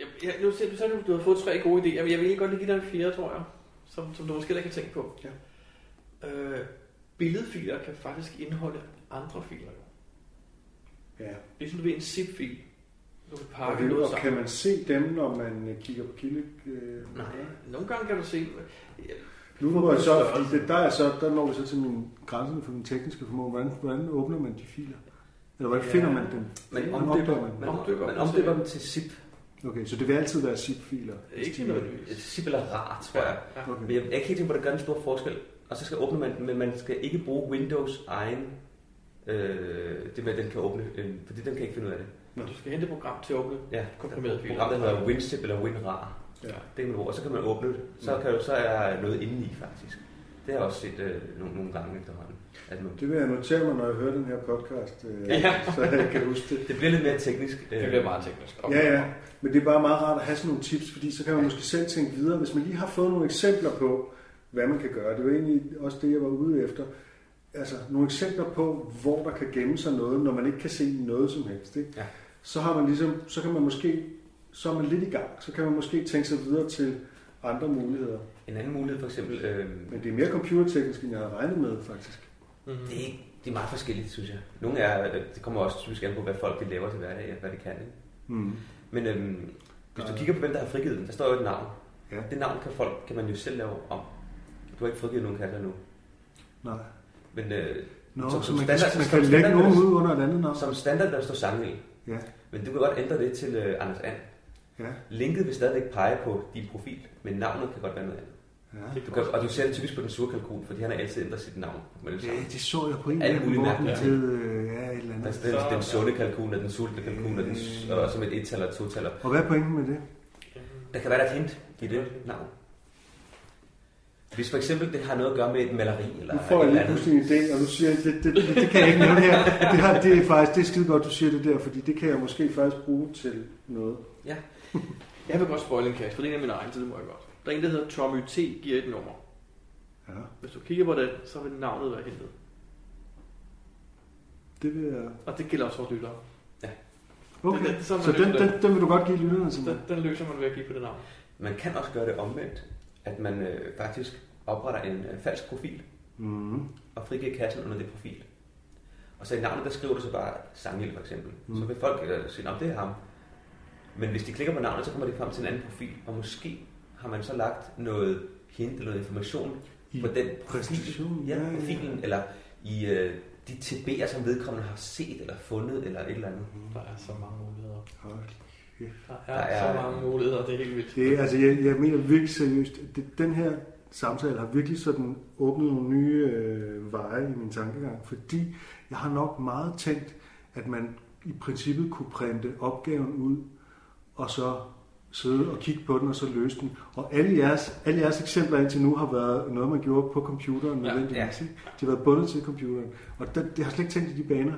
S1: Jeg, jeg, nu ser du, så du, du har fået tre gode idéer, men jeg vil egentlig godt lige give dig en fjerde, tror jeg, som, som du måske heller ikke har tænkt på.
S4: Ja.
S1: Øh, billedfiler kan faktisk indeholde andre filer. jo.
S4: Ja.
S1: Ligesom du ved en zip-fil. Du kan
S4: Og,
S1: pakke
S4: det,
S1: noget
S4: og kan
S1: sammen.
S4: man se dem, når man øh, kigger på kilde? Øh,
S1: Nej, nogle gange kan du se...
S4: Nu må jeg så, fordi det, der, er så, der når vi så til min grænserne for min tekniske formål. Hvordan, hvordan åbner man de filer? Eller hvordan
S1: Ja.
S4: ja. finder man dem?
S2: Man
S4: Hvordan
S2: omdøber,
S4: opdager man
S2: man,
S4: dem?
S1: Omdøber
S2: omdøber, man
S1: dem
S2: omdøber
S1: til-
S2: dem til zip.
S4: Okay, så det vil altid være zip-filer?
S1: Ikke nødvendigvis.
S2: Zip eller rar, tror jeg. Men
S4: Okay.
S2: jeg jeg kan ikke helt tænke på, at der gør en stor forskel. Og så skal åbne man den, men man skal ikke bruge Windows egen, øh, det med, at den kan åbne, øh, fordi den kan ikke finde ud af det.
S1: Når du skal hente et program til at åbne
S2: Ja,
S1: komprimeret filer.
S2: programmet hedder WinZip eller WinRAR.
S4: Ja.
S2: Ja. Det kan man bruge, og så kan man åbne det. Så,
S1: Mm.
S2: kan, du- så er noget inde i, faktisk. Det har jeg også set øh, nogle, nogle gange efterhånden. At man,
S4: Det vil jeg notere mig, når jeg hører den her podcast, øh,
S2: Ja.
S4: så jeg kan huske det.
S2: det bliver lidt mere teknisk. øh,
S1: Det bliver meget teknisk. Okay.
S4: Ja, ja. Men det er bare meget rart at have sådan nogle tips, fordi så kan man måske selv tænke videre. Hvis man lige har fået nogle eksempler på, hvad man kan gøre, det var egentlig også det, jeg var ude efter. Altså nogle eksempler på, hvor der kan gemme sig noget, når man ikke kan se noget som helst. Ikke?
S2: Ja.
S4: Så har man ligesom, så kan man måske, så er man lidt i gang, så kan man måske tænke sig videre til andre muligheder.
S2: En anden mulighed for eksempel, øh,
S4: Men det er mere computerteknisk, end jeg havde regnet med, faktisk.
S1: Mhm.
S2: det, er, ikke- det er meget forskelligt, synes jeg. Nogle er, øh, det kommer også typisk an på, hvad folk de laver til hverdag, og hvad de kan. Ikke?
S4: Mm.
S2: Men øhm, hvis du kigger på, hvem der har frigivet den, der står jo et navn.
S4: Ja.
S2: Ja. Det navn kan, folk, kan man jo selv lave om. Du har ikke frigivet nogen kasser nu.
S4: Nej.
S2: Men øh,
S4: Nå,
S2: Som-
S4: så,
S2: som
S4: man, kan,
S2: standard-
S4: man
S2: som
S4: kan lægge
S2: standard-
S4: nogen ud under et andet navn.
S2: som standard, der står Sangel.
S4: Ja,
S2: Men du kan godt ændre det til øh, Anders And.
S4: ja,
S2: Linket vil stadigvæk pege på din profil, men navnet kan godt være noget andet.
S4: ja.
S2: Du kan, og du ser det typisk på den sure kalkun, fordi han har altid ændret sit navn. Men det
S4: Ja,
S2: samme.
S4: det så jeg på en
S2: Altså, Alt
S4: eller
S2: muligt
S4: anden måde, den
S2: mærkeligt.
S4: hed, øh, ja, et eller andet.
S2: Altså, den, den sunde kalkun, og den sultne kalkun, og, den,
S4: Mm.
S2: s- og som et et-taller og to-taller.
S4: Og hvad er pointen med det?
S2: Der kan være der er et hint i det navn. Hvis for eksempel det har noget at gøre med et maleri, eller
S4: Nu får jeg
S2: et
S4: lige pludselig en idé, og du siger, det, det, det, det kan jeg ikke nævne her. Det, har, det er faktisk, det er skide godt, du siger det der, fordi det kan jeg måske faktisk bruge til noget.
S1: Jeg vil godt spoil en kasse, for det er en af mine egne, så det må jeg godt. Der er en, der hedder Tommy T. giver et nummer.
S4: Ja,
S1: Hvis du kigger på det, så vil navnet være hentet.
S4: det vil jeg...
S1: Og det gælder også vores lyttere.
S4: Okay,
S1: Det- så er man
S4: så den,
S1: nødt til
S4: den, den vil du godt give lytterne til mig.
S1: Den, den løser man ved at give på det navn.
S2: Man kan også gøre det omvendt, at man øh, faktisk opretter en øh, falsk profil
S4: Mm.
S2: og frigiver kassen under det profil. Og så i navnet, der skriver du så bare Sangel for eksempel. Mm. Så
S4: Mm.
S2: vil folk øh, sige, om det er ham. Men hvis de klikker på navnet, så kommer de frem til en anden profil, og måske har man så lagt noget hint eller noget information
S4: I
S2: på den profil,
S4: præstation, ja,
S2: ja,
S4: ja.
S2: profilen, eller i øh, de TB'er, som vedkommende har set eller fundet, eller et eller andet.
S1: Der er så mange muligheder.
S4: Hold
S1: Der er,
S2: Der er-
S1: så mange muligheder, det er helt vildt.
S4: Det, er- altså, jeg, jeg mener virkelig seriøst, at det, den her samtale har virkelig sådan åbnet nogle nye øh, veje i min tankegang, fordi jeg har nok meget tænkt, at man i princippet kunne printe opgaven ud, og så sidde og kigge på den, og så løse den. Og alle jeres, alle jeres eksempler indtil nu har været noget, man gjorde på computeren
S1: Ja,
S4: nødvendigvis. Ja, De har været bundet til computeren. Og der, jeg har slet ikke tænkt i de baner.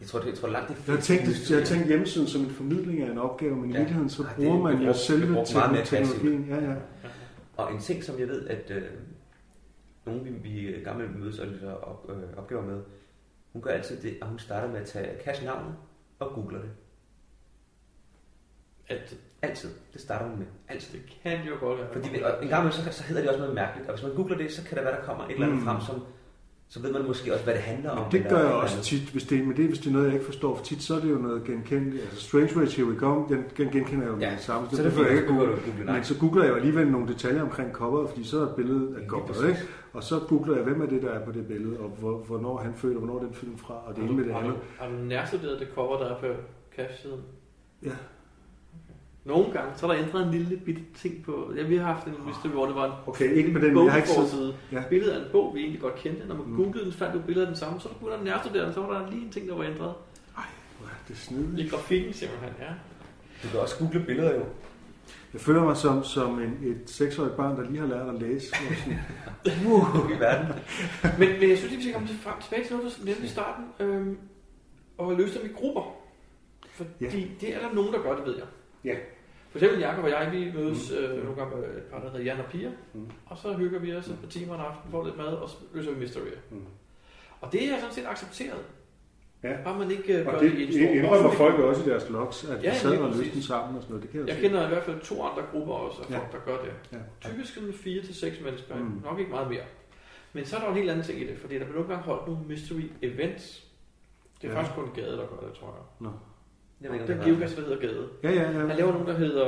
S2: Jeg tror, det, jeg tror langt det
S4: Jeg har tænkt, jeg har tænkt hjemmesiden som en formidling af en opgave, men i
S2: Ja.
S4: virkeligheden så
S2: Nej, det
S4: bruger
S2: er
S4: man jo
S2: brugt- det er
S4: selve
S2: brugt meget mere
S4: teknologien. Ja, ja.
S2: Og en ting, som jeg ved, at øh, nogen vi, vi gamle mødes og løser op, øh, opgaver med, hun gør altid det, at hun starter med at tage cash navnet og googler det.
S1: Alt.
S2: Altid. Det starter hun med. Altid.
S1: Det kan jo godt være.
S2: Fordi og en gang imellem, så, så hedder det også noget mærkeligt. Og hvis man googler det, så kan der være, der kommer et eller andet mm.
S4: Mm.
S2: frem, som så ved man måske også, hvad det handler om.
S4: Det
S2: eller-
S4: gør jeg
S2: eller
S4: også
S2: andet.
S4: tit, hvis det, men det er, hvis det er noget, jeg ikke forstår. For tit så er det jo noget genkendeligt. Altså Strange Ways Here We Come, den, den genkender jeg jo ja,
S2: Ja,
S4: det samme.
S2: så det
S4: behøver
S2: er
S4: jeg
S2: ikke
S4: ikke at
S2: Google,
S4: google.
S2: du Google, nej.
S4: Men så googler jeg jo alligevel nogle detaljer omkring coveret, fordi så er billedet er
S2: Ja,
S4: godt,
S2: præcis.
S4: ikke? Og så googler jeg, hvem er det, der er på det billede, og hvor, hvornår han føler, hvornår er den film fra, og det ene med det
S1: Har du-
S4: andet.
S1: Har du nærstuderet det cover, der er på cash-siden?
S4: Ja.
S1: Nogle gange, så er der ændret en lille bitte ting på... Ja, vi har haft en mystery, hvor det var en
S4: Okay, ikke med den, men
S1: bog
S4: jeg har ikke set.
S1: forside.
S4: Ja.
S1: Ja. Billedet af en bog, vi egentlig godt kendte. Når man
S4: Mm.
S1: mm. googlede den, fandt du billedet af den samme. Så når du begyndte at nærstudere den, så var der lige en ting, der var ændret.
S4: Ja, det er snedigt.
S1: I grafikken simpelthen, ja.
S2: Du kan også google billeder jo.
S4: Jeg føler mig som, som en, et seksårigt barn, der lige har lært at læse. Og sådan,
S2: i verden.
S1: Men, men jeg synes, at vi skal komme til- frem tilbage til noget, du nævnte i starten. Øhm, og løse dem i grupper. Fordi
S4: Ja.
S1: det er der nogen, der gør, det ved jeg.
S4: Ja.
S1: For eksempel Jacob og jeg, vi mødes mm. øh, nogle gange øh, et par, der hedder Jan og Pia.
S4: Mm.
S1: Mm. Og så hygger vi os et par timer en aften, får lidt mad og så løser vi mysterier.
S4: Mm.
S1: Mm. Og det er sådan set accepteret.
S4: Ja.
S1: Bare man ikke øh, gør
S4: og
S1: det, i en stor
S4: det indrømmer
S1: offentlig-
S4: folk jo også i deres logs, at
S1: Ja,
S4: de sad
S1: lige
S4: og løste
S1: præcis.
S4: den sammen og sådan noget. Det kan jeg,
S1: Jeg
S4: se.
S1: kender i hvert fald to andre grupper også af
S4: Ja.
S1: folk, der gør det.
S4: Ja.
S1: Typisk sådan 4 til seks mennesker,
S4: Mm.
S1: mm. nok ikke meget mere. Men så er der jo en helt anden ting i det, fordi der bliver nogle gange holdt nogle mystery events. Det er
S4: Ja.
S1: ja. faktisk kun Gade, der gør det, tror jeg.
S2: Jeg ved ikke, om
S1: Den
S2: det er
S1: geogas, der hedder Gade.
S4: Ja, ja, ja.
S1: Han laver nogen, der hedder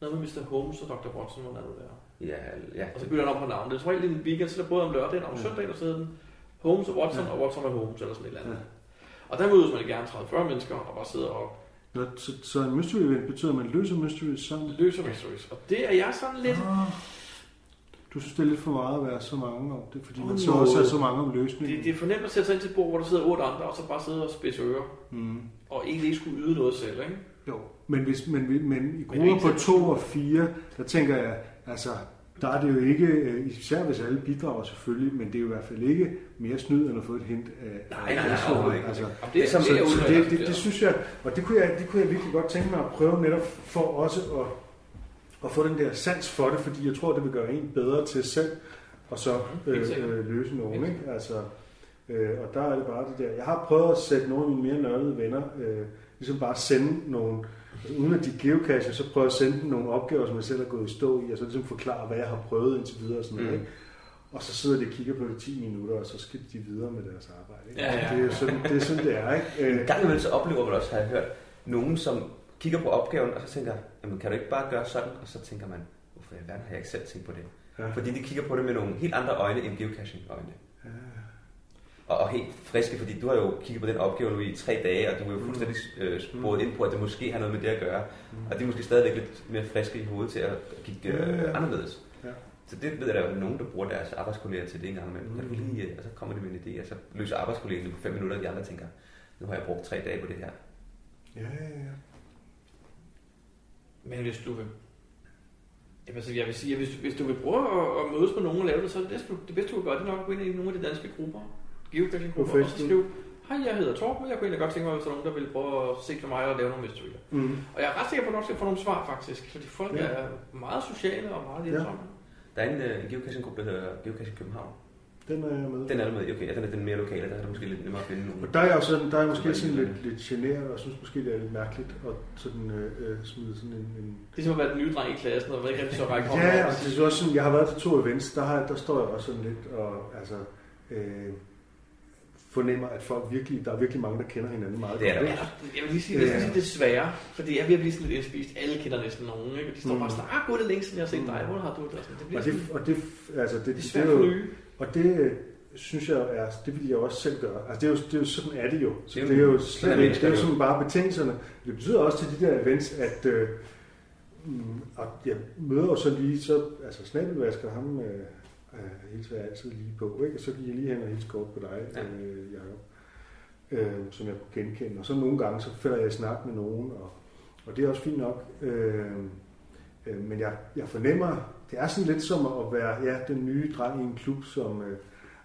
S1: noget med Mr. Holmes og Dr. Watson, hvor han der.
S2: Ja, ja.
S1: Og så bytter han op på navnet. Det er som regel en weekend, så der både om lørdagen og om
S4: Ja.
S1: søndagen, og så hedder den Holmes og Watson,
S4: Ja.
S1: ja. og Watson og Holmes, eller sådan et eller andet. Ja. Og der mødes man gerne 30-40 mennesker og bare sidder og
S4: Nå, så, så en mystery event betyder, at man løser mysteries sammen.
S1: løser mysteries. Og det er jeg sådan lidt...
S4: Ah. Du synes, det er lidt for meget at være så mange om det, fordi man
S1: Åh,
S4: så
S1: noget.
S4: også er så mange om
S1: Det,
S4: løsningen.
S1: det er for nemt at sætte sig ind til et bord, hvor der sidder otte andre, og så bare sidde og spidse ører,
S4: Mm.
S1: og egentlig ikke skulle yde noget selv, ikke?
S4: Jo, men, hvis, men, men, men i
S1: det er
S4: grupper
S1: ikke
S4: på
S1: så-
S4: to og fire, der tænker jeg, altså, der er det jo ikke, øh, især hvis alle bidrager selvfølgelig, men det er jo i hvert fald ikke mere snyd end at få et hint af...
S2: Nej, nej, nej,
S4: af-
S2: overhovedet ikke.
S4: Altså,
S1: Jamen, det, er,
S2: Det er som-
S1: det, er
S4: så
S1: udenrigs-
S4: det, det, det synes jeg, og det kunne jeg, det kunne jeg virkelig godt tænke mig at prøve netop for også at, at få den der sans for det, fordi jeg tror, det vil gøre en bedre til selv, og så øh,
S1: Mhm, Helt sikkert.
S4: øh, løse nogen.
S1: Helt
S4: Ikke? Altså, øh, og der er det bare det der. Jeg har prøvet at sætte nogle af mine mere nørdede venner, øh, ligesom bare sende nogle, altså, uden at de geocacher, så prøver jeg at sende dem nogle opgaver, som jeg selv er gået i stå i, og så ligesom forklare, hvad jeg har prøvet indtil videre og sådan noget.
S1: Mhm.
S2: Mm.
S4: Ikke? Og så sidder de og kigger på det i 10 minutter, og så skal de videre med deres arbejde. Ikke?
S1: Ja, ja.
S4: Og Det, er jo sådan, det er sådan, det er. Ikke? Øh,
S2: En gang imellem så oplever man også, har jeg hørt, nogen som kigger på opgaven, og så tænker, jamen kan du ikke bare gøre sådan? Og så tænker man, hvorfor i verden har jeg ikke selv tænkt på det?
S4: Ja.
S2: Ja. Fordi de kigger på det med nogle helt andre øjne end geocaching-øjne.
S4: Ja.
S2: Og, og helt friske, fordi du har jo kigget på den opgave nu i tre dage, og du er jo
S4: Mm.
S2: fuldstændig øh, sporet ind på, at det måske har noget med det at gøre. Og de er måske stadigvæk lidt mere friske i hovedet til at kigge øh,
S4: Ja, ja, ja.
S2: anderledes.
S4: Ja.
S2: Så det ved jeg, der er jo nogen, der bruger deres arbejdskolleger til det en gang imellem.
S4: Mm.
S2: Mm. Lige, øh, og så kommer de med en idé, og så løser arbejdskollegerne det på fem minutter, og de andre tænker, nu har jeg brugt tre dage på det her.
S4: Ja, ja, ja.
S1: Men hvis du vil... Jamen, altså, jeg vil sige, at hvis, hvis du vil prøve at, at mødes med nogen og lave det, så er det, bedste, du- det bedste, du kan gøre, det er nok at gå ind i nogle af de danske grupper, geocaching-grupper, og så
S4: Facebook.
S1: skrive, hej, jeg hedder Torben, og jeg kunne egentlig godt tænke mig, hvis der er nogen, der ville prøve at se for mig og lave nogle mysterier.
S4: Mm.
S1: Og jeg er ret sikker på, at du nok skal få nogle svar, faktisk, fordi folk
S4: Ja.
S1: ja. er meget sociale og meget hjælpsomme.
S2: Der er en, øh, en geocaching-gruppe, der hedder Geocaching København.
S4: Den er jeg med.
S2: Den er der med, i. okay, ja, den er den mere lokale, der er det måske lidt nemmere at finde nogen.
S4: Og der er jeg jo sådan, der er jeg måske sådan lidt, lidt generet, og synes måske, det er lidt mærkeligt at sådan, øh, øh, smide sådan en... en
S1: Det er som Ligesom at være den nye dreng i klassen, og man ikke rigtig så række hånden
S4: ja,
S1: op
S4: og
S1: og
S4: det
S1: sige,
S4: er jo også sådan, jeg har været til to events, der, har, der står jeg også sådan lidt og altså, øh, fornemmer, at folk virkelig, der er virkelig mange, der kender hinanden meget
S2: Det er der.
S4: godt,
S1: Ja,
S4: ikke?
S1: jeg vil lige sige,
S4: Ja.
S1: næsten sige desværre, fordi jeg bliver lige sådan lidt indspist. Alle kender næsten nogen, ikke? Og De står
S4: Mm.
S1: bare sådan, ah, gud, det er længe siden, jeg har set
S4: Mm.
S1: dig. Hvor har du det? Og sådan, det bliver
S4: Og
S1: sådan,
S4: det, og det, altså, det,
S1: det er
S4: det,
S1: svært
S4: er
S1: for
S4: jo,
S1: nye.
S4: og det øh, synes jeg er, det ville jeg også selv gøre. Altså det er jo, det er jo sådan er det jo. Så
S2: Det
S4: det
S2: er
S4: er
S2: jo-
S4: jo
S2: sådan er
S4: slet ikke, det
S2: mennesker
S4: er jo
S2: jo.
S4: sådan bare betingelserne. Det betyder også til de der events, at øh, mm, og jeg møder jo så lige, så, altså snabelvasker ham, øh, øh, hilser jeg altid lige på, ikke? og så gik jeg lige hen og hilser kort på dig,
S2: Ja.
S4: øh, Jacob, øh, som jeg kunne genkende. Og så nogle gange, så falder jeg i snak med nogen, og, og det er også fint nok. Øh, øh, men jeg, jeg fornemmer, det er sådan lidt som at være ja, den nye dreng i en klub, som øh,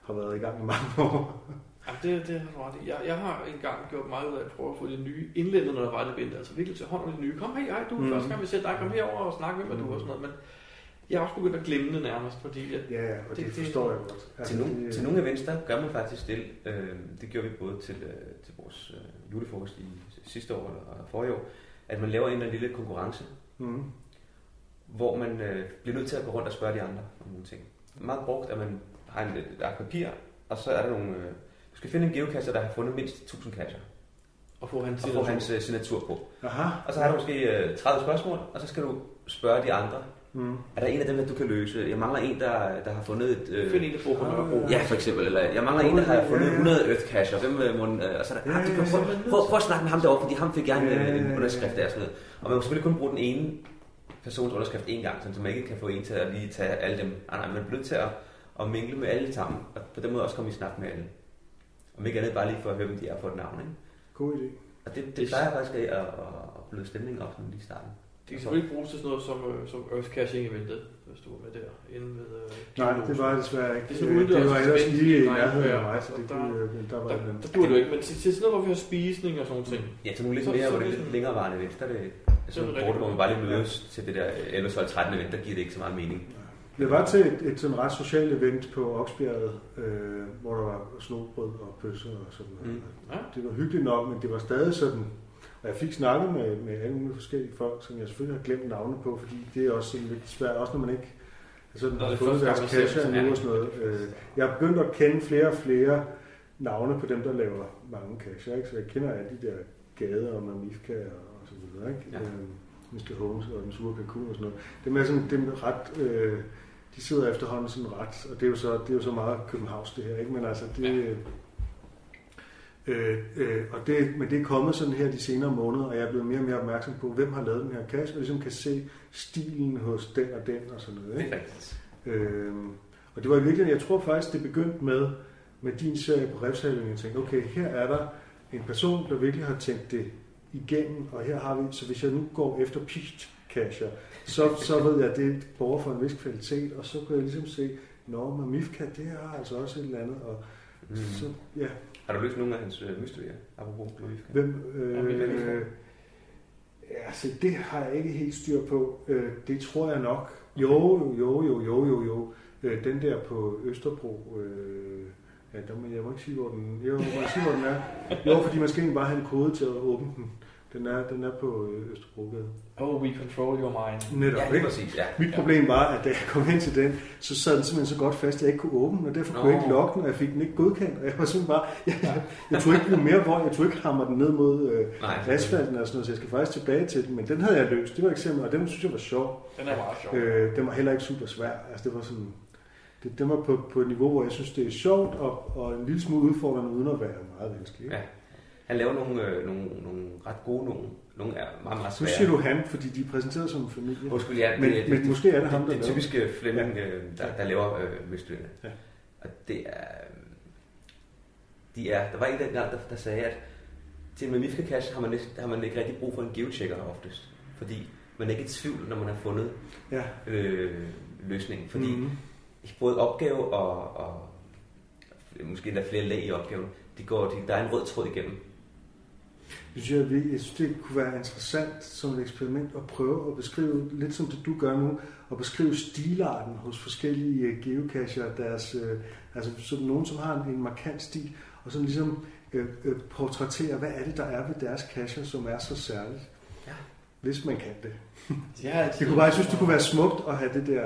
S4: har været i gang i mange år.
S1: Jamen, det, det har du ret i. Jeg, jeg har engang gjort meget ud af at prøve at få de nye indlændere, når der var det billede. Altså virkelig til hånd om de nye. Kom, hey, hej, du er
S4: Mm.
S1: mm. første gang, vi ser dig. Kom herover og snak med mig, du og sådan noget. Men jeg har også begyndt at glemme det nærmest, fordi at
S4: Ja, og det,
S1: Det-
S4: det
S1: det-
S4: forstår jeg godt. Altså,
S2: Til, nogle,
S4: det- øh,
S2: til nogle events, der gør man faktisk det. Øh, det gjorde vi både til, øh, til vores øh, julefrokost i sidste år og forrige år, at man laver en eller anden lille konkurrence,
S4: Mm.
S2: hvor man øh, bliver nødt til at gå rundt og spørge de andre om nogle ting. Meget brugt, at man har en, et ark papir, og så er der nogle... Øh, du skal finde en geocacher, der har fundet mindst 1000 kasser.
S1: Og få hans
S2: Og få hans øh, signatur på.
S4: Aha.
S2: Og så har du måske øh, 30 spørgsmål, og så skal du spørge de andre.
S4: Mm.
S2: Er der en af dem, at du kan løse? Jeg mangler en, der, der har fundet et... Øh,
S1: Find en, der bor på Nørrebro.
S2: Ja, for eksempel. Eller jeg mangler en, der har fundet
S4: Ja, ja.
S2: 100 earth cash, og, dem, øh, må, den, øh, og så er der,
S4: Ja,
S2: ah, du kan
S4: ja,
S2: prøve,
S4: ja.
S2: prøv, prøv, at snakke med ham derovre, fordi ham fik jeg en, øh,
S4: Ja, ja,
S2: en
S4: ja.
S2: underskrift der og sådan noget. Og man må selvfølgelig kun bruge den ene persons underskrift én gang, sådan, så man ikke kan få en til at lige tage alle dem. Ah, nej, man bliver nødt til at, at mingle med alle sammen, og på den måde også komme i snak med alle. Om ikke andet bare lige for at høre, hvem de er på et navn. Ikke?
S4: God idé.
S2: Og det, det plejer faktisk at, at, at bløde stemningen op, sådan lige i starten.
S4: altså-
S1: Det kan selvfølgelig bruges til sådan noget som, øh, som Earth Caching eventet, hvis du var med der. Inden ved, øh,
S4: Nej,
S1: Dinos.
S4: det var jeg desværre ikke.
S1: Det er sådan
S4: Øh,
S1: udendørs,
S4: det var
S1: så
S4: ellers
S1: spændende,
S4: lige i
S1: nej,
S4: nærheden af
S1: ja.
S4: mig, så det
S1: Der-
S4: kunne, øh, men der var
S1: der,
S4: en anden.
S1: der duer det jo ikke, men Mm. til, til sådan noget, hvor vi har spisning og sådan noget.
S2: Ja, så nogle lidt
S1: Så-
S2: mere,
S1: så
S2: hvor
S1: det
S2: det er
S1: er
S2: lidt
S1: sådan-
S2: længerevarende event, der er det sådan
S1: det
S2: nogle
S1: rigtig
S2: korte, hvor man bare lige
S4: godt.
S2: mødes til det der øh, 11-12-13 event, der giver det ikke så meget mening.
S4: Jeg var til et, et sådan ret socialt event på Oksbjerget, øh, hvor der var snobrød og pølser og sådan noget.
S2: Mm.
S4: Mm.
S1: Ja.
S4: Ja. Det var hyggeligt nok, men det var stadig sådan... Og jeg fik snakket med, med alle mulige forskellige folk, som jeg selvfølgelig har glemt navne på, fordi det er også sådan lidt svært, også når man ikke altså,
S1: Når
S4: har
S1: det
S4: fundet
S1: første
S4: deres
S1: gang, man ser
S4: kasser
S1: dem, så er
S4: endnu og
S1: det-
S4: sådan noget. Øh, jeg er begyndt at kende flere og flere navne på dem, der laver mange kasser, ikke? så jeg kender alle de der gader og Mamifka og så videre. Ikke?
S2: Ja.
S4: Ja. Øh, Mr. Holmes og den sure kalkun og sådan noget. Dem er sådan, dem er ret, øh, de sidder efterhånden sådan ret, og det er jo så, det er jo så meget Københavns det her, ikke? men altså det, ja. Øh, øh, og det, men det er kommet sådan her de senere måneder, og jeg er blevet mere og mere opmærksom på, hvem har lavet den her kasse, og ligesom kan se stilen hos den og den og sådan noget.
S2: Det
S4: Ikke?
S2: er rigtigt.
S4: Øhm, og det var i virkeligheden, jeg tror faktisk, det begyndte med, med din serie på Refshaløen. Jeg tænkte, okay, her er der en person, der virkelig har tænkt det igennem, og her har vi, så hvis jeg nu går efter pigt kasher, så, så ved jeg, at det borger for en vis kvalitet, og så kunne jeg ligesom se, nå, men Mifka, det har altså også et eller andet, og
S2: Mm.
S4: så, ja,
S2: Har du løst nogle af hans øh, mysterier? Apropos Mamifka.
S4: Hvem,
S1: Ja, hvem er det
S4: øh,
S1: for?
S4: ja, så det har jeg ikke helt styr på. Øh, det tror jeg nok. Jo, jo, jo, jo, jo, jo. Øh, den der på Østerbro, øh, ja, der må, jeg må ikke sige, hvor den, jo, jeg må ikke sige, hvor den er. Jo, fordi man skal egentlig bare have en kode til at åbne den. Den er, den er på øh, Østerbrogade.
S1: Oh, we control your mind.
S4: Netop,
S2: Ja, lige
S4: ikke?
S2: præcis. Ja.
S4: Mit problem var, at da jeg kom hen til den, så sad den simpelthen så godt fast, at jeg ikke kunne åbne den, og derfor kunne jeg ikke
S2: Nå.
S4: lokke den, og jeg fik den ikke godkendt, og jeg var simpelthen bare, jeg, jeg, jeg tog ikke blive mere vold, jeg tog ikke hammer den ned mod øh,
S2: Nej,
S4: asfalten og sådan noget, så jeg skal faktisk tilbage til den, men den havde jeg løst, det var et eksempel, og den synes jeg var sjov.
S1: Den er meget sjov.
S4: Øh, den var heller ikke super svær, altså det var sådan, det, den var på, på et niveau, hvor jeg synes, det er sjovt, og, og en lille smule udfordrende, uden at være meget vanskelig. ikke?
S2: Ja. Han laver nogle, øh, nogle, nogle ret gode nogle. Nogle er meget, meget
S4: Nu
S2: svære.
S4: siger du han, fordi de er præsenteret som en familie.
S2: Undskyld, ja.
S4: Men-
S2: det,
S4: men
S2: det,
S4: måske er det ham, der
S2: det, det
S4: laver
S2: typiske Flemming, øh, der, der laver øh, mysterierne.
S4: Ja.
S2: Og det er... øh, De er... Der var en dengang, der, der sagde, at til en Mamifka Cash har man, næsten, har man ikke rigtig brug for en geochecker oftest. Fordi man er ikke i tvivl, når man har fundet
S4: Ja.
S2: øh, løsningen. Fordi
S4: Mhm.
S2: både opgave og, og måske endda flere lag i opgaven, de går, de, der er en rød tråd igennem.
S4: Det synes jeg, virkelig- jeg synes, det kunne være interessant som et eksperiment at prøve at beskrive, lidt som det du gør nu, at beskrive stilarten hos forskellige øh, geocacher, deres, øh, altså som nogen, som har en, en markant stil, og sådan ligesom øh, øh, portrættere, hvad er det, der er ved deres cacher, som er så særligt.
S2: Ja.
S4: Hvis man kan det.
S1: Jeg har altid-
S4: Jeg kunne bare, jeg synes, det kunne være smukt at have det der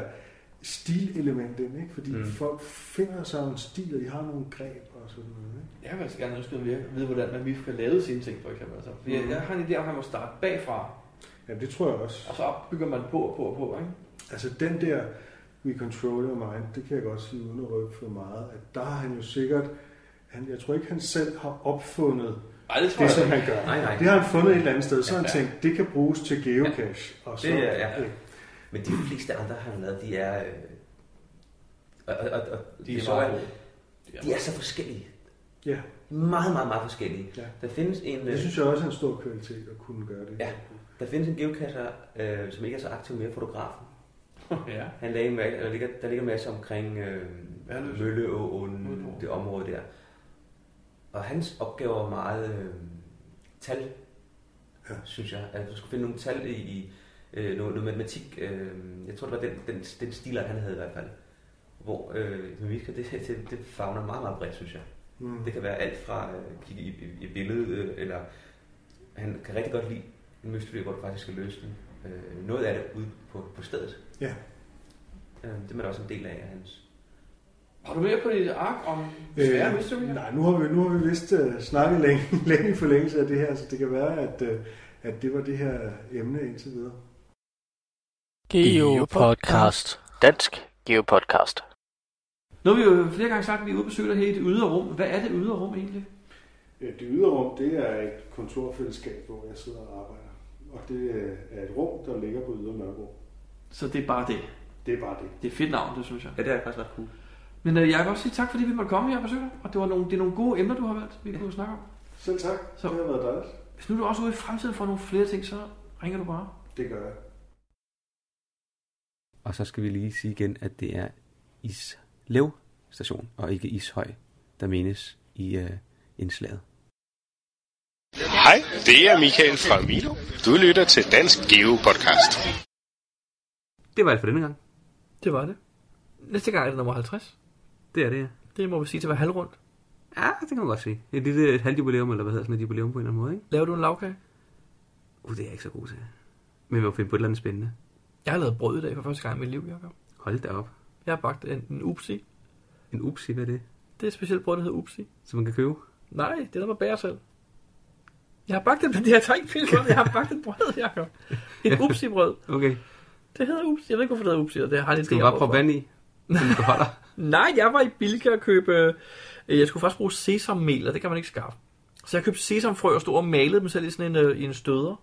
S4: stilelement ind, ikke? fordi
S2: Mm.
S4: mm. folk finder sig en stil, og de har nogle greb og sådan noget. Ikke?
S1: Jeg vil altså gerne ønske at vide, vide, hvordan man lige kan lave sine ting, for eksempel. Altså, fordi
S4: Mhm.
S1: jeg, jeg har en idé om, at man må starte bagfra,
S4: Jamen, det tror jeg også.
S1: og så opbygger man på og på og på, ikke?
S4: Altså den der We Control Your Mind, det kan jeg godt sige uden at røbe for meget, at der har han jo sikkert, han, jeg tror ikke han selv har opfundet
S1: Ej, det tror
S4: det,
S1: jeg
S4: som
S1: ikke.
S4: han gør.
S2: Nej, nej.
S4: Det har han fundet et eller andet sted, så
S2: Ja,
S4: har han
S2: ja.
S4: tænkt, det kan bruges til geocache. Og så,
S2: Det er- ja.
S4: øh,
S2: Men de fleste andre, han har lavet, de er... Øh, og, og, og, og,
S1: De er
S2: så-
S1: meget gode.
S2: de er så forskellige.
S4: ja.
S2: Meget, meget, meget forskellige.
S4: Ja.
S2: Der findes en...
S4: Det
S2: Øh,
S4: synes jeg også er en stor kvalitet at kunne gøre det.
S2: Ja. der findes en geocacher, øh, som ikke er så aktiv mere, fotografen.
S1: ja.
S2: Han lagde en, ma- der, ligger, der ligger en masse omkring øh,
S1: Værløse.
S2: Mølleåen,
S1: Mølleå.
S2: det område der. Og hans opgave var meget øh, tal,
S4: Ja.
S2: synes jeg. At du skulle finde nogle tal i, i øh, noget, noget matematik. Øh, jeg tror, det var den, den, den stil, han havde i hvert fald. Hvor øh, mimik, det, det, det fagner meget, meget bredt, synes jeg.
S4: Mm.
S2: Det kan være alt fra at øh, kigge i, i, i billedet, øh, eller han kan rigtig godt lide en mystery, hvor du faktisk skal løse den. Øh, noget af det ude på, på stedet.
S4: Ja.
S2: Øh, det er man også en del af, af hans.
S6: Har du mere på dit ark om svære øh,
S4: Øh,
S6: mysterier?
S4: nej, nu har vi, nu har vi vist uh, snakket længe, længe i forlængelse af det her, så det kan være, at, uh, at det var det her emne indtil videre.
S3: Geopodcast. Dansk Geopodcast.
S6: Nu har vi jo flere gange sagt, at vi er ude og besøge dig her i det ydre rum. Hvad er det ydre rum egentlig?
S4: Øh, Det ydre rum, det er et kontorfællesskab, hvor jeg sidder og arbejder. Og det øh, er et rum, der ligger på Ydre Nørrebro.
S6: Så det er bare det.
S4: Det er bare det.
S6: Det er et fedt navn, det synes jeg.
S10: Ja, det er faktisk ret cool.
S6: Men øh, jeg vil også sige tak, fordi vi måtte komme her og besøge dig. Og det, var nogle, det er nogle gode emner, du har valgt, vi kunne snakke om.
S4: Selv tak.
S6: Så-
S4: Så. Det har været dejligt.
S6: Hvis nu er du også ude i fremtiden for nogle flere ting, så ringer du bare.
S4: Det gør jeg.
S2: Og så skal vi lige sige igen, at det er Islev station, og ikke Ishøj, der menes i øh, indslaget.
S11: Hej, det er Michael fra Milo. Du lytter til Dansk Geo Podcast.
S2: Det var alt for denne gang.
S1: Det var det. Næste gang er det nummer 50.
S2: Det er det, ja.
S1: Det må vi sige til hver halvrundt.
S2: Ja, det kan man godt sige. Et lille et halvjubilæum, eller hvad hedder sådan et jubilæum på en eller anden måde, ikke?
S1: Laver du en lavkage?
S2: Uh, det er jeg ikke så god til. Men vi må finde på et eller andet spændende.
S1: Jeg har lavet brød i dag for første gang i mit liv, Jacob.
S2: Hold da op.
S1: Jeg har bagt en, en upsi.
S2: En upsi, hvad er det?
S1: Det er et specielt brød, der hedder upsi.
S2: Som man kan købe.
S1: Nej, det er der, man bærer selv. Jeg har bagt et, jeg tager ikke pille for det. Jeg har bagt et brød, Jacob. Et upsi-brød.
S2: Okay.
S1: Det hedder upsi. Jeg ved ikke, hvorfor det hedder upsi, og det har jeg lidt
S2: Skal vi bare prøve vand i? Som du holder.
S1: Nej, jeg var i Bilka og købe... øh, Jeg skulle faktisk bruge sesammel, og det kan man ikke skaffe. Så jeg købte sesamfrø og stod og malede dem selv i sådan en, øh, i en støder.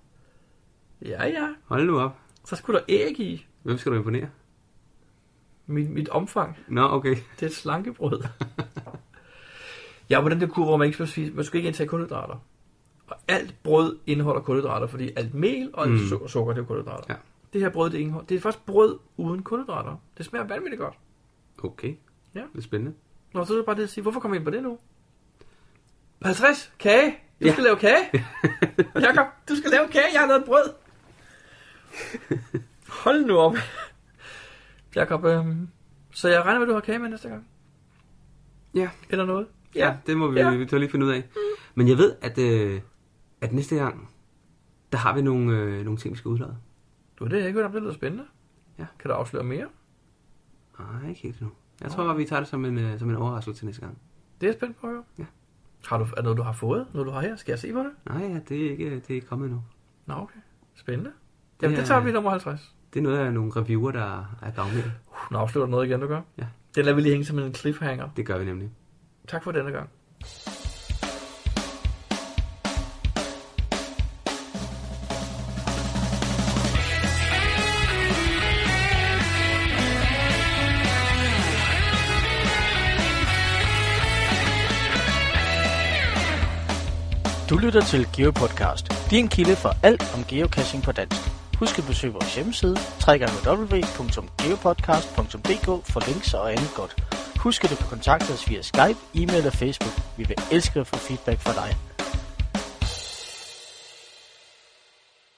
S1: Ja, ja.
S2: Hold nu op.
S1: Så skulle der æg i.
S2: Hvem skal du imponere?
S1: Mit, mit omfang.
S2: Nå, okay.
S1: Det er et slankebrød. jeg er på den der kur, hvor man ikke skal spise, man skal ikke indtage kulhydrater. Og alt brød indeholder kulhydrater, fordi alt mel og alt
S2: Mm.
S1: su- sukker, det er jo kulhydrater.
S2: Ja.
S1: Det her brød, det indeholder, det er faktisk brød uden kulhydrater. Det smager vanvittigt godt.
S2: Okay.
S1: Ja.
S2: Det er spændende.
S1: Nå, så er det bare det at sige, hvorfor kommer vi ind på det nu? 50, kage. Du ja. skal lave kage. Jakob, du skal lave kage, jeg har lavet brød. Hold nu op. Jakob, øhm, så jeg regner med, at du har kage med næste gang?
S2: Ja.
S1: Eller noget?
S2: Ja, det må vi,
S1: Ja.
S2: ja. vi tør lige finde ud af. Men jeg ved, at, øh, at næste gang, der har vi nogle, øh, nogle ting, vi skal udlade.
S1: Du, det har jeg ikke hørt om, det lyder spændende.
S2: Ja.
S1: Kan du afsløre mere?
S2: Nej, ikke helt endnu. Jeg tror bare, vi tager det som en, øh, som en overraskelse til næste gang.
S1: Det er jeg spændt på at høre.
S2: Ja.
S1: Har du, er det noget, du har fået? Noget, du har her? Skal jeg se på det?
S2: Nej, ja, det er ikke, det er ikke kommet endnu.
S1: Nå, okay. Spændende. Jamen,
S2: Det
S1: det
S2: er-
S1: tager vi i nummer 50.
S2: Det er noget af nogle reviewer, der er gavmilde.
S1: Uh, nu afslører du noget igen, du gør.
S2: Ja.
S1: Den lader vi lige hænge som en cliffhanger.
S2: Det gør vi nemlig.
S1: Tak for denne gang.
S3: Du lytter til GeoPodcast, din kilde for alt om geocaching på dansk. Husk at besøge vores hjemmeside, www.geopodcast.dk for links og andet godt. Husk at du kan kontakte os via Skype, e-mail og Facebook. Vi vil elske at få feedback fra dig.